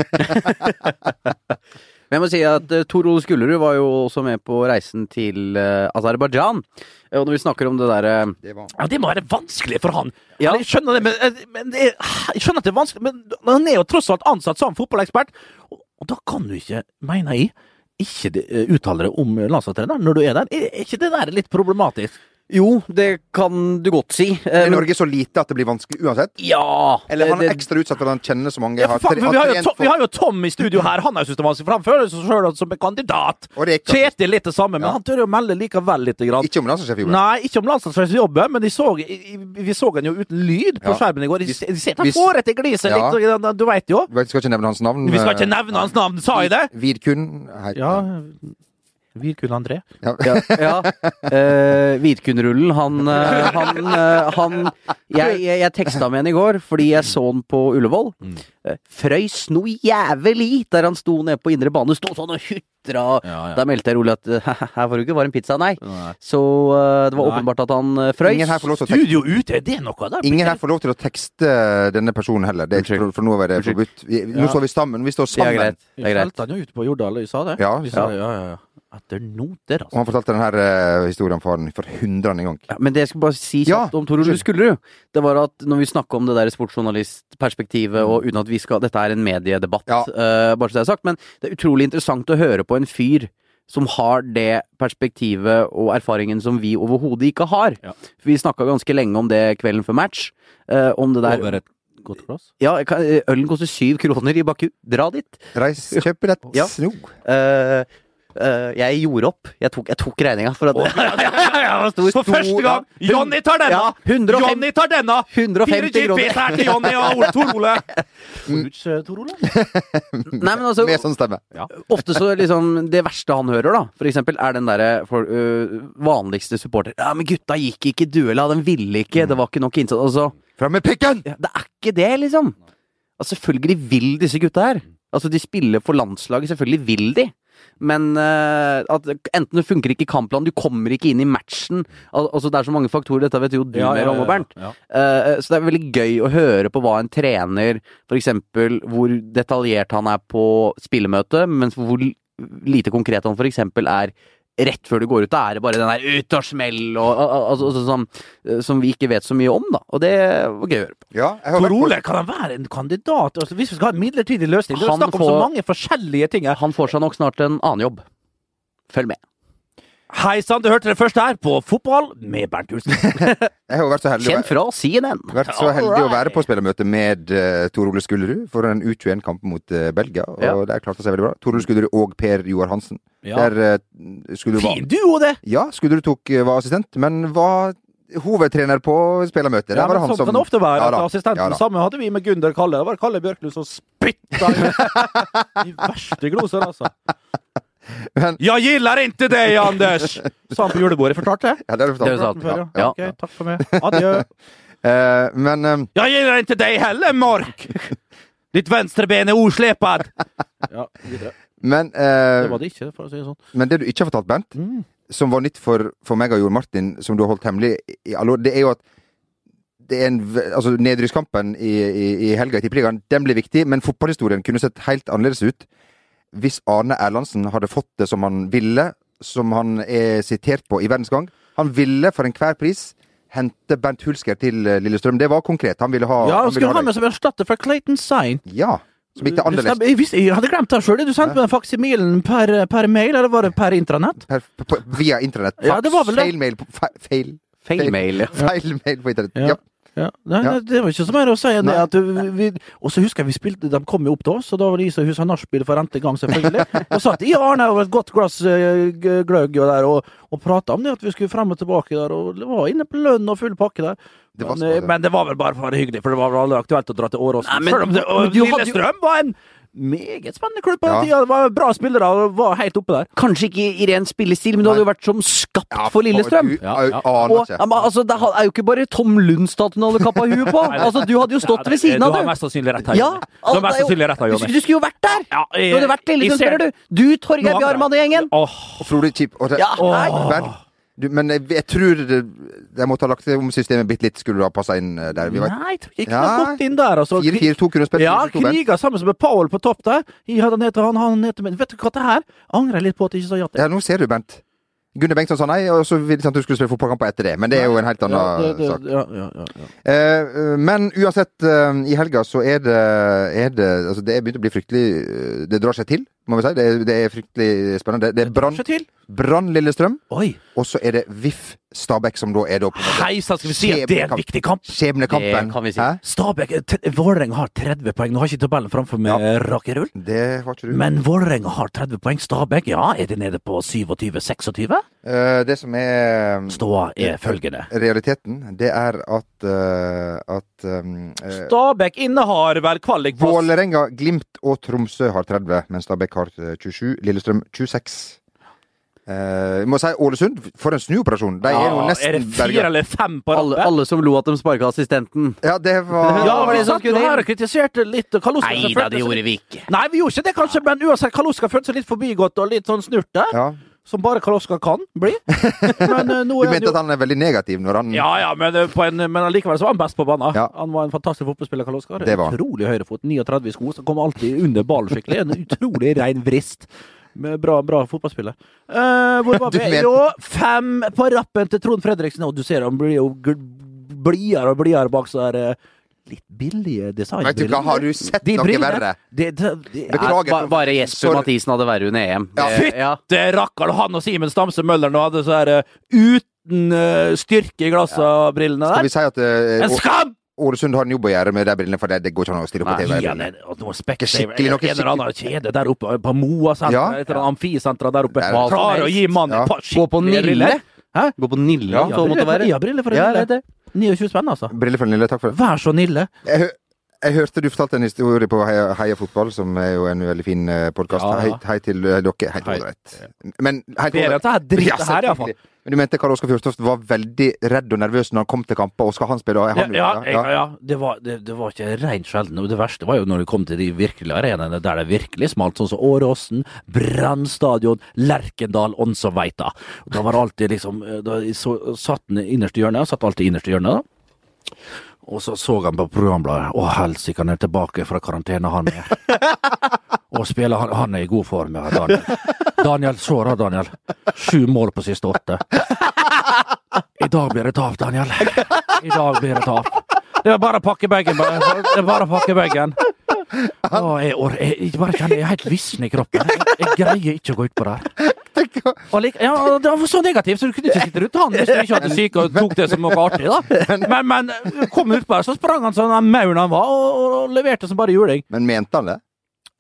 Men jeg må si at eh, Tor Ole Skullerud var jo også med på reisen til eh, Aserbajdsjan. Eh, Og når vi snakker om det eh, derre det var. Ja, Det må være vanskelig for han. Ja. Jeg skjønner det, men, eh, men det er, jeg skjønner at det er vanskelig, men han er jo tross alt ansatt som fotballekspert. Og, og da kan du ikke, mener jeg, ikke de- eh, uttale deg om landslagstreneren når du er der. Er er ikke det der litt problematisk? Jo, det kan du godt si. eh, Er men- Norge så lite at det blir vanskelig uansett? Ja! Eller han Det- er ekstra utsatt fordi han kjenner så mange? Ja, for faen, tre- for vi, har jo trent Tom, for- vi har jo Tom i studio her. Han har jo syntes det er vanskelig, for han føler seg sjøl som en kandidat. Og det er ikke- Kjetil litt det samme, men Ja. han tør jo melde likevel lite grann. Ikke om landslagssjef gjorde det. Nei, ikke om landslagsjobben, men de så, i- i- vi så han jo uten lyd på Ja. skjermen i går. De, Hvis- de ser, han hvis- får etter gliset Ja. litt, og- du veit jo. Vi skal ikke nevne hans navn. Vi skal ikke nevne hans navn, sa jeg det? Vidkun. Hei. Ja, Virkun André. Ja. ja. Eh, Vidkunrullen, han, eh, han, eh, han Jeg, jeg, jeg teksta med han i går fordi jeg så han på Ullevål. Eh, frøys noe jævlig der han sto nede på indre bane. Sto sånn og hutra. Ja, ja. Da meldte jeg rolig at eh, her var det ikke varm pizza, nei. Så eh, det var Nei. åpenbart at han eh, frøys. Ingen her får lov til å tekste. Studio ute, er det noe der? Ingen her får lov til å tekste denne personen heller. Det er, Unnskyld. for, for nå er det Unnskyld. forbudt. Vi, nå Ja. står vi sammen. Vi står det er sammen. greit. Det er greit. han jo ute på Jordal, jeg sa det. Ja, Vi vi sa sa det, ja, ja, ja. Etter noter, Og altså. han fortalte denne her, eh, historien om faren for hundrende gang. Ja, men det jeg skulle bare si Ja, kjapt om Tor Ole Skullerud, det var at når vi snakker om det der sportsjournalistperspektivet, og uten at vi skal Dette er en mediedebatt, Ja. eh, bare så det er sagt, men det er utrolig interessant å høre på en fyr som har det perspektivet og erfaringen som vi overhodet ikke har. Ja. For vi snakka ganske lenge om det kvelden før match, eh, om det der Over et godt glass. Ja, kan- ølen koster syv kroner i Baku, dra dit! Reis, kjøp billett Ja. nå. Eh, eh, jeg gjorde opp. Jeg tok, jeg tok regninga for at For første gang! Jonny tar denne! Ja, 105 Jonny tar denne! 150 Fire kroner. GPS her til Jonny og Tor Ole! Tor Ole? Nei, men altså, Med sånn stemme. Ofte så liksom Det verste han hører, da, for eksempel, er den derre for- øh, vanligste supporter Ja, men gutta gikk ikke i duella, den ville ikke, det var ikke nok innsats. Altså, Fram med pikken! ja, det er ikke det, liksom! Altså, selvfølgelig vil disse gutta her. Altså, de spiller for landslaget, selvfølgelig vil de. Men øh, at enten det funker ikke i kampplanen, du kommer ikke inn i matchen Al Altså, det er så mange faktorer, dette vet jo du mer om, Bernt. Eh, Så det er veldig gøy å høre på hva en trener For eksempel hvor detaljert han er på spillemøtet, mens hvor l- lite konkret han for eksempel er rett før du går ut. Da er det bare den der ut og smell og al- al- altså, altså, som, som vi ikke vet så mye om, da. Og det var gøy å høre på. Ja, jeg har Tor vært på- Ole, kan han være en kandidat? Altså, hvis vi skal ha en midlertidig løsning Det er Han snakk om så får- mange forskjellige ting her. Han får seg nok snart en annen jobb. Følg med. Hei sann, du hørte det først her på Fotball med Bernt Hulsen. Jeg har jo vært så heldig å Kjent være- fra CNN. vært så heldig å være på spillermøte med eh, Tor Ole Skullerud for en U21-kamp mot eh, Belgia, og Ja. der klarte han seg veldig bra. Tor Ole Skullerud og Per Joar Hansen. Ja. Der uh, Skullerud var Fin duo, det! Ja, Skullerud tok, eh, var assistent, men var hovedtrener på spillermøtet. Der Ja, var men det han sånn som kan det ofte være. Ja at da, assistenten ja da. Samme hadde vi med Gunder Kalle. Det var Kalle Bjørklund som spytta i De verste gloser, altså. Men- Jeg gillar ikke det, Anders! Sa han på julebordet. Fortalte jeg? Ja, det har du Det fortalt. har du Før, ja. Ja. Ok, takk for meg. Adjø. Eh, men eh, Jeg gillar ikke deg heller, Mark! Ditt venstreben er oslepad! Ja, videre. men, eh, Det var det ikke, for å si det sånn. men det du ikke har fortalt, Bent, Mm. som var nytt for, for meg og Jon Martin, som du har holdt hemmelig i alle år, det er jo at det er en, ve- altså Nedrykkskampen i, i, i helga i Tippeligaen, den blir viktig, men fotballhistorien kunne sett helt annerledes ut hvis Arne Erlandsen hadde fått det som han ville, som han er sitert på i Verdens Gang. Han ville for enhver pris hente Bernt Hulsker til eh, Lillestrøm. Det var konkret. Han ville ha Ja, han han ville skulle ha ha deg. med som erstatter for Clayton Sign. Ja. Som gikk til Anderlecht. Jeg visste- jeg hadde glemt det sjøl. Du sendte meg faksimilen per, per mail, eller var det per intranett? Per, på, via internett. Ja, det var vel det. Feil mail på, fe, feil, Feil mail. feil mail på internett. Ja. Ja. Ja. Nei, Ja. nei, det var ikke så mer å si enn det. Nei. At vi, vi- og så husker jeg vi spilte, de kom jo opp til oss, og da var det is og hus og nachspiel for rente gang, selvfølgelig. Og satt i Arne over et godt glass eh, g- gløgg og der, og, og prata om det at vi skulle frem og tilbake der, og det var inne på lønn og full pakke der. Det var men, eh, sånn. Men det var vel bare for å være hyggelig, for det var vel aldri aktuelt å dra til Åråsen. Nei, men- Selv om det, men og du hadde jo- Lillestrøm var en meget spennende klubb på den Ja. tida. Det var bra spillere og var helt oppe der. Kanskje ikke i ren spillestil, men du hadde jo vært som skapt Ja, for Lillestrøm. du a- aner Og, ikke. ja, men, altså, det ha- er jo ikke bare Tom Lund-statuen hadde kappa huet på! Altså, du hadde jo stått ved siden av Du det! har mest sannsynlig rett her, Ja, Jonny. altså, du har mest det er jo- sannsynlig rett her, Du, Jonny. skulle- du skulle jo vært der! Ja, jeg- du hadde vært der, jeg liksom, ser spiller du! det. Du, Torgeir Nå- Bjarmann i gjengen! Åh, Frode Kjip og det- Ja, nei. Men, du, men jeg, jeg tror det, jeg måtte ha lagt om systemet bitte litt, skulle du ha passa inn eh, der. Vi var nei, jeg tror ikke Ja. det har gått inn der, altså. 4-4-2 kunne spilt Ja, 4-4-2, Ben. kriga sammen med Powell på topp der. Jeg hadde han heter han, han heter men Vet du hva det her? Angrer jeg litt på at jeg ikke sa ja til. Ja, nå ser du, Bent. Gunnar Bengtsson sa nei, og så ville han at du skulle spille fotballkamper etter det. Men det er jo en helt annen Ja, det- det- sak. ja, ja, ja, ja. Eh, men uansett, eh, i helga så er det, er det Altså, det er begynt å bli fryktelig eh, Det drar seg til, må vi si. Det er, det er fryktelig spennende. Det er Brann- Kanskje til. Brann Lillestrøm, Oi. og så er det VIF Stabæk som da er da på en måte Hei sann, skal vi si at det er en viktig kamp? skjebnekampen. Det kan vi si. Hæ? Stabæk t- Vålerenga har 30 poeng. Nå har jeg ikke tabellen framfor meg, ja. rull. Det har ikke du. Men Vålerenga har 30 poeng. Stabæk, ja, er de nede på 27-26? Eh, det som er Ståa er følgende. realiteten, det er at eh, at um, eh, Stabæk innehar vel kvalikplass. Vålerenga, Glimt og Tromsø har 30, mens Stabæk har eh, 27. Lillestrøm 26. Eh, Vi må si Ålesund, for en snuoperasjon! De er jo Ja, nesten er det fire berga. eller fem på Alle, rappen? alle som lo at de sparka assistenten. Ja, det sånn var Ja, var vi det som satt jo skulle her inn? og kritiserte litt Kaluska. som følte seg- vi ikke. Nei, vi gjorde ikke det, kanskje, men uansett, Kaluska følte seg litt forbigått og litt sånn snurt der. ja. Som bare Kaluska kan bli. Men eh, nå Du er han mente jo at han er veldig negativ når han Ja, ja, men, eh, på en, men allikevel så var han best på banen. Mm. Ja. Han var en fantastisk fotballspiller, Karl Oskar. Det var han. Utrolig høyrefot, 39 i sko, som kom alltid under ballen skikkelig. En utrolig rein vrist. Med bra, bra fotballspiller. Eh, hvor var Du vi? mente- Jo, fem på rappen til Trond Fredriksen. Og du ser han blir jo gl- blidere og blidere bak så der eh, litt billige Vet du designbriller. hva, har du sett De noe brillene- verre? Det, det, det, Beklager. Nei, ba- bare Jesper Sorry. Mathisen hadde verre under EM. Ja. Det- ja. det rakker han og Simen Stamse Møller nå hadde så her eh, uten eh, styrke i glasset-brillene Skal der. vi si at eh, En Å- skam! Ålesund har en jobb å gjøre med de brillene, for det, det går ikke an å stille opp på Nei, TV? Gi han en- at noe Ikke spekter, skikkelig, noe en eller annen kjede der oppe eh, på Moa-senteret, Ja. et eller annet amfisenter der oppe. Det er det. Klarer å gi mannen Ja. et par Gå skikkelige på Nille. briller. Hæ? Gå på Nille, Ja, så måtte det være. ja, briller for en Ja, Nille. jeg vet det. 29 spenn, altså. Briller for den lille, takk for det. Vær så nille. Jeg, hø- jeg hørte du fortalte en historie på Heia, Heia Fotball, som er jo en veldig fin podkast. Ja. Hei, hei til eh, dere. Helt Hei. ålreit. Men helt Bedre enn ålreit. dette her drittet her, i hvert fall. selvfølgelig. Men du mente Karl Oskar Fjørtoft var veldig redd og nervøs når han kom til kamper, og skal han spille? Og Ja, han, ja, ja, ja. Det, var, det, det var ikke rent sjelden. Og Det verste var jo når det kom til de virkelige arenaene der det virkelig smalt, sånn som Åråsen, Brann stadion, Lerkendal, Onsoveita. Da var det alltid liksom eh, Da så, satt han innerst i hjørnet, satt alltid innerst i hjørnet, da. Og så så han på programbladet. Å helsike, han er tilbake fra karantene, han er. Og spiller han, han er i god form, ja, Daniel. Daniel, så da, Daniel. Sju mål på siste åtte. I dag blir det tap, Daniel. I dag blir det tap. Det er bare å pakke bagen. bare. Det er bare å pakke bagen. Å, Jeg, or- jeg, jeg bare kjenner jeg er helt vissen i kroppen. Jeg, jeg greier ikke å gå utpå der. Og like, ja, det var så negativt, så du kunne ikke sitte rundt han hvis du ikke hadde syke og tok det som noe artig. da. Men, men kom utpå der, så sprang han sånn den mauren han var, og, og leverte som bare juling. Men mente han det?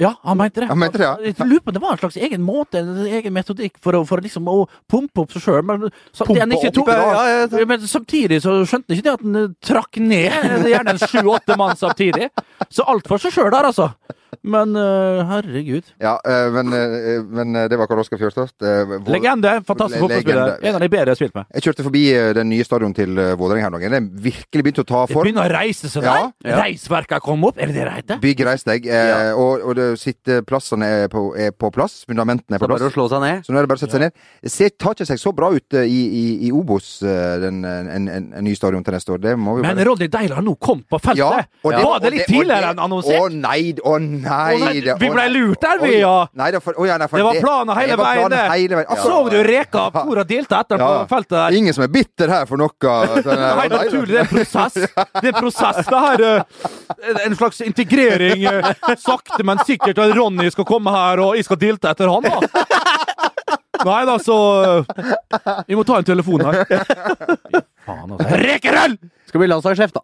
Ja, han mente det. Han mente det, ja. Jeg lurer på om det var en slags egen måte, en egen metodikk, for å, for å liksom å pumpe opp seg sjøl. Men, så- det han ikke opp, ja, ja, ja. men samtidig så skjønte han ikke det at han eh, trakk ned eh, gjerne en sju-åtte mann samtidig. Så alt for seg sjøl der, altså. Men eh, herregud. Ja, eh, men, eh, men eh, det var Karl Oskar Fjørtoft. Eh, vår- Legende. Fantastisk Le- fotballspiller. legende. En av de bedre jeg har spilt med. Jeg kjørte forbi eh, den nye stadion til eh, Vålerenga her om dagen. Det er virkelig begynt å ta Det form. begynner å reise seg Ja. der. Reisverka kom opp, er det det det heter? Bygg reis deg. Eh, og, og det- sitteplassene er på, er på plass. Fundamentene er Så på bare plass. å slå seg ned. Så nå er det bare å sette seg ned. Det ser, tar ikke seg så bra ut eh, i, i, i Obos, eh, den, en, en, en, en ny stadion til neste år. Det må vi Men bare Ronny Deila har nå kommet på feltet! Ja, og var det og litt og tidligere det- enn annonsert? Å nei, å nei, Å nei, det- vi å ble nei. lurt der, vi, Oi, ja. Nei, det, var for, å ja, nei, for Det var planer hele det var veien! planer hele veien. Altså, Så du reka av hvor han delte etter på Ja. feltet der? Ingen som er bitter her for noe. sånn, Det er nei, helt nei, naturlig. Det er en prosess. Det er en prosess, det her. eh, en- En slags integrering. eh, Sakte, men sikkert. at Ronny skal komme her, og jeg skal dilte etter han, da. Nei da, så eh, Vi må ta en telefon her. Fy Faen, altså. Rekerøll! Skal bli landslagssjef, da.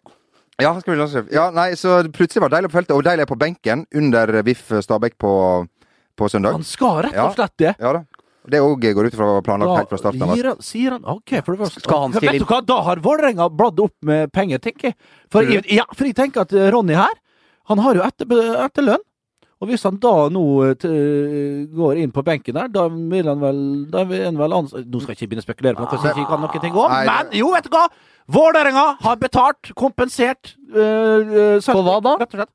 Ja, han skal bli landslagssjef. Ja, nei, så plutselig var Deilig på feltet, og Deilig er på benken under VIF Stabæk på, på søndag. Han skal rett og Ja. slett det. Ja da. Det òg går ut ifra planlagt helt fra starten av. gir han, sier han OK, for det første Skal han stille Vet du hva, da har Vålerenga bladd opp med penger, tenker jeg. For, jeg. Ja, for jeg tenker at eh, Ronny her, han har jo etter, etterlønn. Og hvis han da nå eh, t går inn på benken der, da vil han vel, da vil han vel ans Nå skal jeg ikke begynne å spekulere på noe som jeg ikke kan noen ting om, Nei, men det- jo, vet du hva! Vålerenga har betalt, kompensert For hva da? Rett og slett.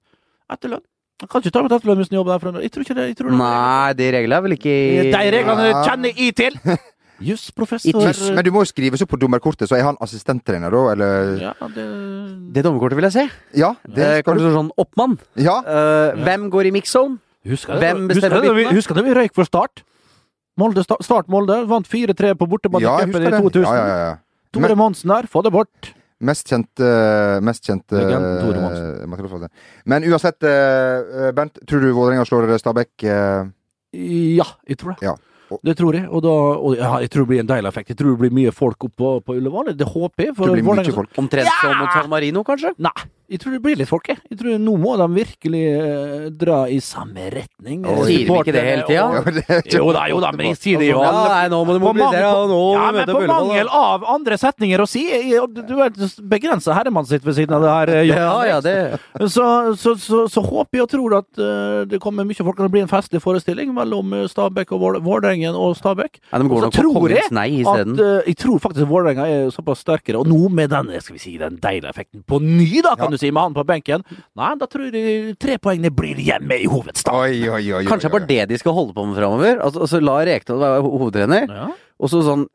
Etterlønn. Han kan ikke ta med etterlønn hvis han jobber der. For en- jeg tror ikke det. Jeg tror det. Nei, de reglene er vel ikke De reglene Ja. kjenner jeg til! Jusprofessor Men, men du må jo skrives opp på dommerkortet, så er han assistenttrener da, eller Ja, det Det dommerkortet vil jeg se. Ja, det Eh, skal kanskje du. sånn oppmann. Ja, Eh, Hvem går i mix-zone? Husker Hvem bestemmer husker det, byttene? vi, husker det vi røyk for Start? Molde, sta- start Molde, vant 4-3 på bortebane ja, i jeg cupen husker i det. 2000. Ja, ja, ja. Tore Monsen der, få det bort. Mest kjente Mest kjente Legenden Tore eh, materialforfatter. Men uansett, eh, Bernt, tror du Vålerenga slår Stabæk? eh, Ja, jeg tror det. Ja. Og- Det tror jeg, og, da, og ja, jeg tror det blir en deilig effekt. Jeg tror det blir mye folk oppe på, på Ullevål. Det håper jeg. for Det blir mye Vålerenga- folk. Omtrent som mot San Marino, kanskje? Nei, jeg tror det blir litt folk, jeg. jeg tror Nå må de virkelig eh, dra i samme retning. Oi. Sier vi ikke det hele tida? Og- Ja, det er ikke- Jo da, jo da, men jeg sier det jo. Ja, nei, nå må du På mobilisere, mangel- og nå ja, men møter på Ullevål, da. mangel av andre setninger å si jeg- og Du er begrensa herremann sitt ved siden av det her. eh, Johan Ja, ja, det Henriksen. Så, så, så, så håper jeg og tror at eh, det kommer mye folk. og Det blir en festlig forestilling mellom eh, Stabæk og Vål- Vålerengen og Stabæk. Nei, de går Og nok så på tror jeg Kongens Nei at isteden. eh, Jeg tror faktisk Vålerenga er såpass sterkere. Og nå med den eh, skal vi si, den deilige effekten på ny, da, kan Ja. du si, med han på benken. Nei, da tror jeg tre poengene blir hjemme i hovedstaden. Oi, oi, oi, oi, Kanskje det er oi, bare det de skal holde på med framover? Altså, altså, la Rekdal være ho- hovedtrener, Ja. og så sånn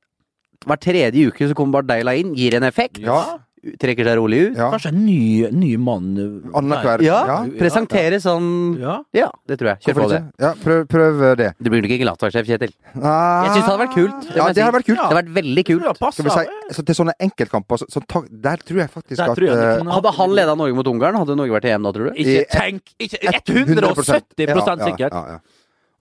hver tredje uke så kommer Bardeila inn, gir en effekt, Ja. trekker seg rolig ut. Ja. Kanskje en ny, ny mann eh, Annenhver Ja, Ja, presenterer sånn Ja. Ja, det tror jeg. Kjør på hvorfor det. ikke? Ja, prøv, prøv det. Du blir nok ikke Gladstad-sjef, Kjetil. Ah. Jeg syns det hadde vært kult. Ja, må jeg det hadde si. vært kult. Det hadde vært veldig kult. Ja, passer. Skal vi si, så til sånne enkeltkamper så, så, ta- Der tror jeg faktisk Der at tror jeg det eh, kunne- Hadde han leda Norge mot Ungarn, hadde Norge vært i EM da, tror du? Ikke I- tenk ikke, 170 Ja, ja, sikkert. ja, ja.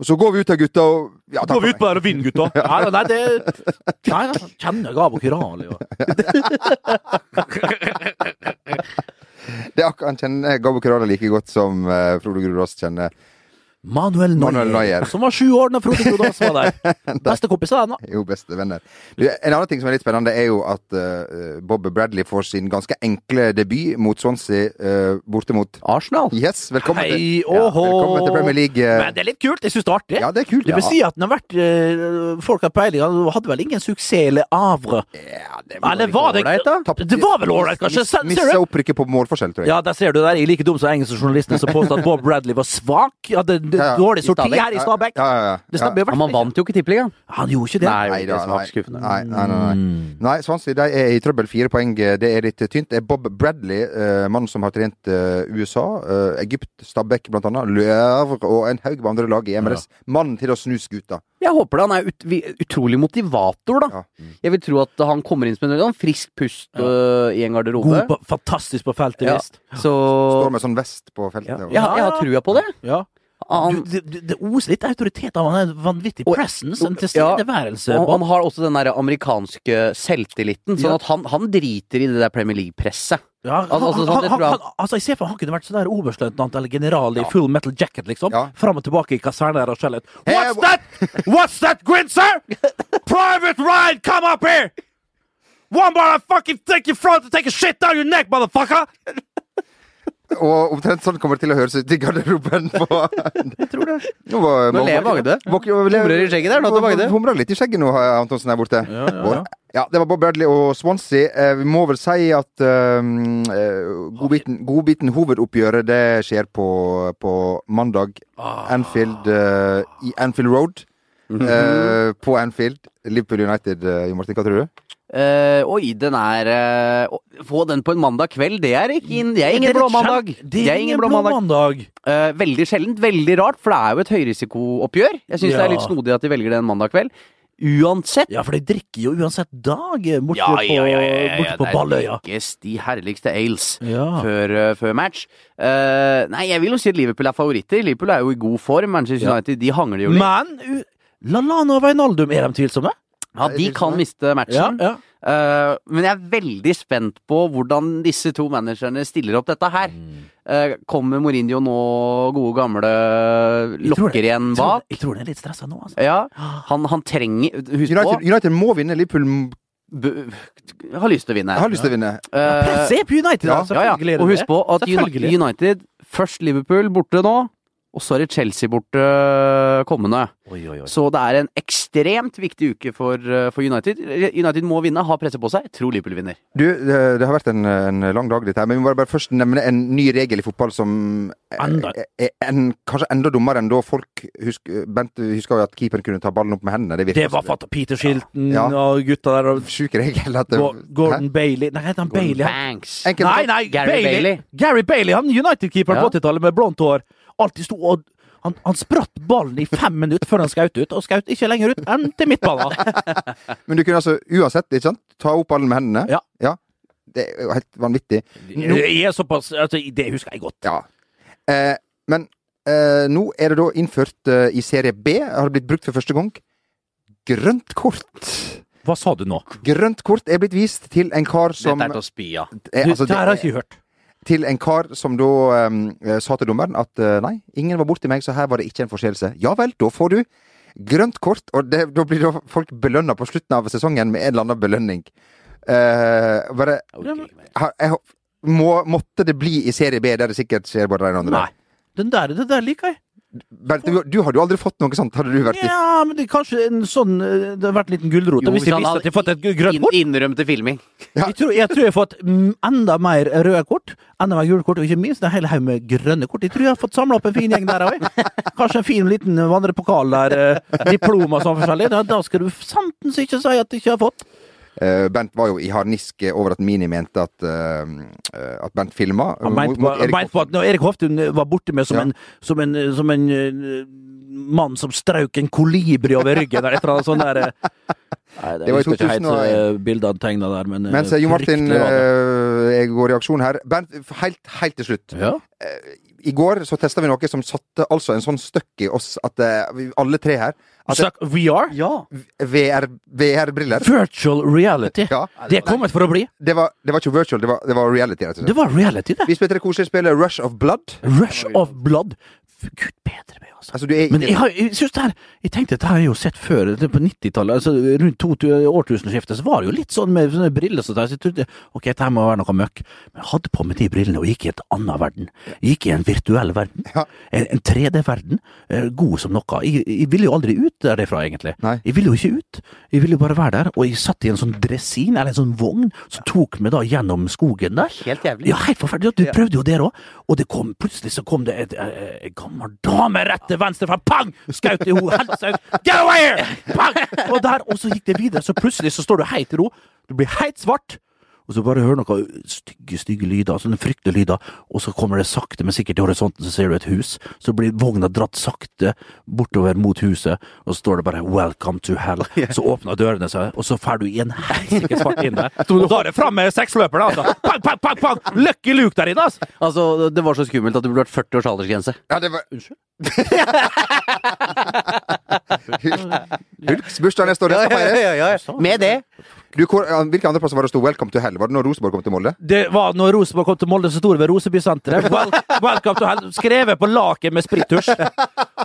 Og så går vi ut av gutta og ja, takk Går vi for ut på der og vinner, gutta? Nei, nei, nei, det Nei, nei, kjenner Gabo Kurali og meg. Det er akkurat, han kjenner Gabo Kurala like godt som eh, Frode Grudås kjenner Manuel Manuel Neuer. Neuer, som var sju år da Frode Grodås var der. Bestekompis av den, da. er jo beste venner. Du, en annen ting som er litt spennende, er jo at eh, Bob Bradley får sin ganske enkle debut mot Swansea eh, borte mot Arsenal? Yes, velkommen, Hei, til, ja, åhå. velkommen til Premier League. eh, Men det er litt kult. Jeg syns det er artig. ja, det er kult. Det vil si at den har vært eh, Folk har peiling. Han hadde vel ingen suksess eller avre. ja, det Eller var det ålreit, da? Det var vel ålreit, kanskje? Ser ser Missa du? opprykket på målforskjell, tror jeg. Ja, der ser du der. Jeg er like dum som engelske journalister som påstår at Bob Bradley var svak. Hadde d- Ja, ja. dårlig sorti Stabæk. her i Stabæk. Ja, ja, ja. Det stemmer i hvert Men man fall ikke. vant jo ikke tippeligaen. Han gjorde ikke det. Nei, Nei, det er det da, som nei, er skuffende. nei, nei, nei, nei. nei Swansea de er i trøbbel. Fire poeng, eh, det er litt tynt. Det er Bob Bradley, eh, mannen som har trent eh, USA, eh, Egypt, Stabæk blant annet, Løvr og en haug med andre lag i MLS. Mannen til å snu skuta. Jeg håper det. Han er ut, vi- utrolig motivator, da. Ja. Jeg vil tro at han kommer inn som en sånn frisk pust øh, i en God garderobe. på, fantastisk på feltet, Ja. visst. Så Står med sånn vest på feltet. ja. og- jeg, har- jeg har trua på det. Ja. Han, Du, du, det oser litt autoritet av han er en vanvittig Og- presence, en Ja. tilstedeværelse. han, han har også den der amerikanske selvtilliten. Sånn Ja. at han, han driter i det der Premier League-presset. Ja, han, altså, han, sånn, han, jeg han, tror altså, jeg ser for meg han kunne vært sånn der oberstløytnant eller general i full metal jacket, liksom. Ja. Fram og tilbake i kaserner og skjellet. Hey, What's wha- that? What's that, Grin, sir? Private Ryan, come up here! One more I fucking take you front and take a shit down your neck, motherfucker! Og omtrent sånn kommer det til å høres ut i garderoben på Jeg tror det. Nå, var- Nå ler Magde. Humrer i skjegget der, nå til Magde. Humrer litt i skjegget nå, eh, Antonsen der borte. Ja, ja, ja. Og- ja, det var Bob Bradley og Swansea. Eh, Vi må vel si at um, eh, godbiten, godbiten hovedoppgjøret, det skjer på, på mandag. Ah. Anfield eh, i Anfield Road. Mhm. Eh, på Anfield. Liverpool United, eh, Jo Martin, hva tror du? Eh, oi, den er eh, å Få den på en mandag kveld, det er ikke inn, det er Det ingen er blå litt mandag. kjent. Det er ingen blå mandag. mandag. Eh, veldig sjeldent, veldig rart, for det er jo et høyrisikooppgjør. Jeg syns det Ja. er litt snodig at de velger det en mandag kveld. Uansett. Ja, for de drikker jo uansett dag eh, borte på, borte på der Balløya. drikkes de herligste ales Ja. før, eh, før match. Eh, nei, jeg vil jo si at Liverpool er favoritter. Liverpool er jo i god form. Manchester Ja. United de hangler jo litt. Men u- Lallana og Veinaldum, er de tvilsomme? Ja, de kan miste Ja, matchen. ja. Eh, men jeg er veldig spent på hvordan disse to managerne stiller opp dette her. Mm. Eh, kommer Mourinho nå, gode gamle, tror lokker det. igjen Tror- bak? Jeg tror han er litt stressa nå, altså. Ja, han, han trenger Husk på, United, United må vinne. Liverpool m- b har lyst til å vinne. har lyst til å vinne. Eh, Se på United, Ja. da! ja, ja. Selvfølgelig er det Og husk det. på at Selvfølgelig. Uni- United Først Liverpool borte nå, og så er det Chelsea borte eh, kommende. Oi, oi, oi. Så det er en ekstremt viktig uke for, eh, for United. United må vinne, har presset på seg. Jeg tror Liverpool vinner. Du, det, det har vært en, en lang dag, dette her, men vi må bare først nevne en ny regel i fotball som er, Enda. er en, kanskje enda dummere enn da folk husk, Bent husker jo at keeperen kunne ta ballen opp med hendene. Det, virker Det var som- fatta Peter Shilton Ja. og gutta der og Sjuk regel. At det, Go- Gordon Bailey Nei, heter han Bailey? Han. Banks! Enkelt- Nei, nei, Gary Bailey. Gary Bailey, han United-keeperen Ja. på 80-tallet med blondt hår. Alltid sto og han, han spratt ballen i fem minutter før han skjøt ut, og skjøt ikke lenger ut enn til midtbanen. Hæ? Men du kunne altså uansett ikke sant, ta opp ballen med hendene. Ja. Det er jo helt vanvittig. Det er såpass altså, Det husker jeg godt. Ja. Eh, men eh, nå er det da innført eh, i serie B, har det blitt brukt for første gang, grønt kort. Hva sa du nå? Grønt kort er blitt vist til en kar som Dette er til å spy av. eh, Du, altså, det det- her har jeg ikke hørt. Til en kar som da eh, sa til dommeren at eh, nei, ingen var borti meg, så her var det ikke en forseelse. Ja vel, da får du grønt kort, og det, da blir da folk belønna på slutten av sesongen med en eller annen belønning. Eh, bare Jeg orker ikke mer. ha- jeg, hå- må, Måtte det bli i serie B, der det sikkert skjer både det ene og det Nei. andre? Den der, det der liker jeg. Bernt, du, du hadde jo aldri fått noe sånt, hadde du vært i Ja, men det er kanskje en sånn eh, Det har vært en liten gulrot. Jo, Hvis de han visste hadde at de fått et grønt inn- kort Innrømte filming. Ja. Jeg tror jeg, tror jeg har fått mm, enda mer røde kort, enda mer gule kort, og ikke minst en hel haug med grønne kort. Jeg tror jeg har fått samla opp en fin gjeng der òg. Kanskje en fin liten vandrepokal der, eh, diplom og sånn forskjellig. Da, da skal du santens ikke si at du ikke har fått. Eh, Bernt var jo i harnisk over at Mini mente at, eh, at Bernt filma. Han mente på, han mente på at når Erik Hoftun var borte med som, Ja. en, som en som en eh, mann som strøk en kolibri over ryggen eller et eller annet sånt der eh. Nei, Det var i 2001. bildet eh, han tegna der, men eh, Mens eh, Jo Martin fryktelig var det. eh, jeg går i aksjon her. Bernt, helt, helt til slutt. Eh, ja. I går så testa vi noe som satte altså en sånn støkk i oss, at eh, vi- alle tre her At det- Snakk VR? VR VR-briller. Virtual reality. Ja. Det er kommet for å bli. Det var, det var ikke virtual, det var, det var reality, rett og Det slett. var reality, det. Vi spilte det koselige spillet Rush of Blood. Rush of Blood. F- Gud bedre meg, altså. Altså, du er Men jeg, har, jeg synes det her Jeg tenkte dette har jeg jo sett før. Det er På 90-tallet, altså rundt 2000 årtusenskiftet, så var det jo litt sånn med sånne briller som der, så jeg trodde ok, dette her må være noe møkk. Men jeg hadde på meg de brillene og gikk i et annet verden. Jeg Gikk i en virtuell verden. Ja. En, en 3D-verden. eh, God som noe. Jeg, jeg ville jo aldri ut derifra, egentlig. Nei. Jeg ville jo ikke ut. Jeg ville jo bare være der. Og jeg satt i en sånn dresin, eller en sånn vogn, som tok meg da gjennom skogen der. Helt jævlig. Ja, helt forferdelig. Du prøvde jo der òg, og det kom, plutselig så kom det et, eh, en gammel dame rett til venstre fra Pang! Skaut i henne, helsa ut. Get away here! Pang! Og der, og så gikk det videre. Så plutselig så står du helt i ro. Du blir helt svart. Og så bare hører noen stygge stygge lyder, sånne fryktelige lyder, og så kommer det sakte, men sikkert i horisonten, så ser du et hus. Så blir vogna dratt sakte bortover mot huset, og så står det bare 'Welcome to hell'. Så åpner dørene seg, og så drar du i en helsike svart inn der. Og da er det fram med seksløperne, altså! Pang, pang, pang! pang. Lucky Luke der inne, altså! Altså, det var så skummelt at det burde vært 40 års aldersgrense. Ja, det var Unnskyld? Hulks bursdag neste år, det skal feires. Med det Du, hvor- ja, Hvilke andre plasser var det sto 'Welcome to Hell'? Var det når Rosenborg kom til Molde? Det var når Rosenborg kom til Molde, så sto det ved Rosebysenteret. Wel welcome to hell! Skrevet på laken med sprittusj.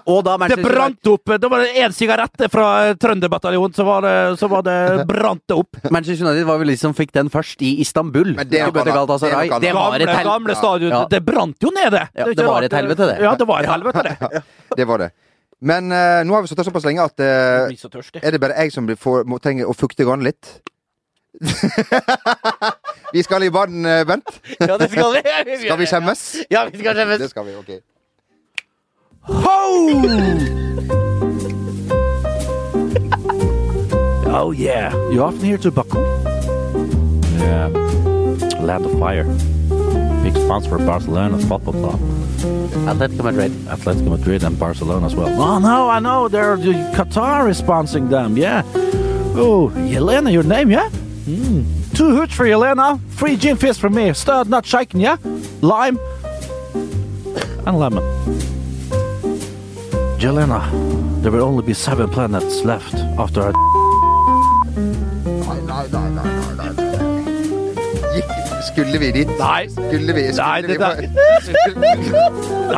Og da Det Manchester United, brant opp! eh, Det var én sigarette fra Trønderbataljonen, så var det, så var det brant det opp. Manchester United var vel de som fikk den først, i Istanbul. Men det er noe Møtte annet. Galatasaray. Det er noe Det var et gamle, hel- gamle stadion. Ja. Det brant jo ned, det. Ja, er det ikke var rart et helvete, det. Ja, det var et helvete, det. Det var det. Men eh, nå har vi sittet såpass lenge at eh, Jeg blir så tørstig. er det bare jeg som blir får, må, trenger å fukte garnet litt? vi skal i vann, eh, Bent. Ja, det skal vi. Skal vi skjemmes? Ja, vi skal skjemmes. Det skal vi, ok. Oh yeah. You often hear tobacco. Yeah. Land of Fire. Big sponsor of Barcelona's football club. Atletico Madrid. Atletico Madrid and Barcelona as well. Oh no, I know. They're the Qatar is sponsoring them. Yeah. Oh, Yelena, your name, yeah? Two hoots for Yelena. Free gin fizz for me. Stirred, not shaken, yeah? Lime and lemon. Yelena, there will only be seven planets left after I. nei, nei, nei, nei, nei. Gikk, skulle vi dit? Nei. Skulle vi, skulle Nei, vi, det der- fa- skulle,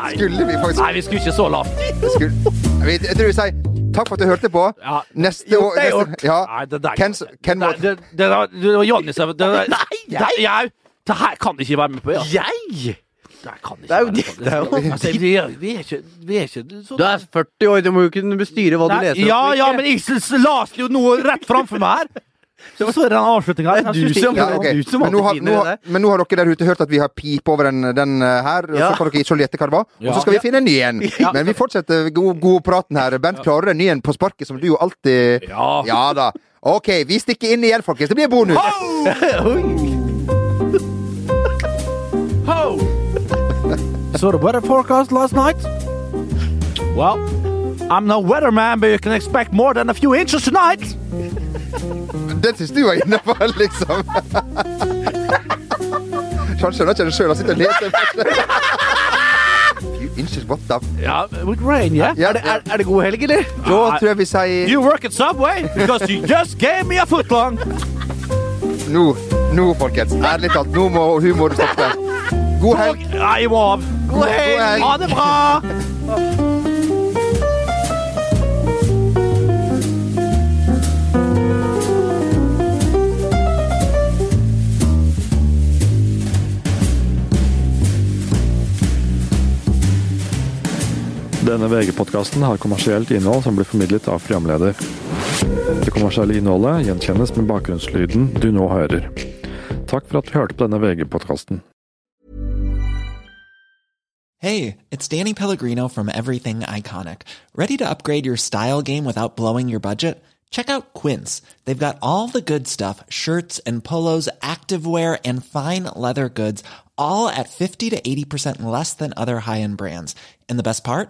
Nei. skulle vi faktisk Nei, vi skulle ikke så lavt. skulle, jeg, vet, jeg tror du sier takk for at du hørte på. Ja. Neste Jo, år det er neste- gjort. Ja. Nei, det der Ken, Ken Nei, må- det, det, var- det var Jonny som det, det, Nei, jeg! jeg det her kan du ikke være med på, ja. Jeg?! Det her kan du ikke Det er jo være med på. det er jo- Altså, vi, er, vi er ikke, vi er ikke så, Du er 40 år, du må jo kunne bestyre hva du Nei, leser. Ja, ja, men Isel leste jo noe rett framfor meg her! Så så er det den avslutninga Det er du som- ja, ok. det var du som men, nå har, alltid nå, finner har- men nå har dere der ute hørt at vi har pip over den, den eh, her, og Ja. så kan dere ikke gjette hva det var. Og så skal vi finne en ny en. Men vi fortsetter god, god praten her. Bent, klarer du en ny en på sparket, som du jo alltid Ja. da. OK, vi stikker inn igjen, folkens. Det blir bonus. So the weather forecast last night? Well, I'm no weatherman, but you can expect more than a few inches tonight. Den syns du var inne på, liksom. Han skjønner ikke det sjøl. Han sitter og leser. You inches, what the Ja, uh, with rain, yeah? Ja, Er, er det god helg, eller? Da tror jeg vi sier Uh, You work at Subway because you just gave me a footlong. Nå, nå, folkens. Ærlig talt, nå må humoren stoppe. God helg. Nei, jeg må av. God helg. Ha det bra! Denne VG-podkasten har kommersielt innhold som blir formidlet av programleder. Det kommersielle innholdet gjenkjennes med bakgrunnslyden du nå hører. Takk for at du hørte på denne VG-podkasten. Hey, it's Danny Pellegrino from Everything Iconic. Ready to upgrade your style game without blowing your budget? Check out Quince. They've got all the good stuff shirts and polos, activewear, and fine leather goods, all at 50 to 80% less than other high end brands. And the best part?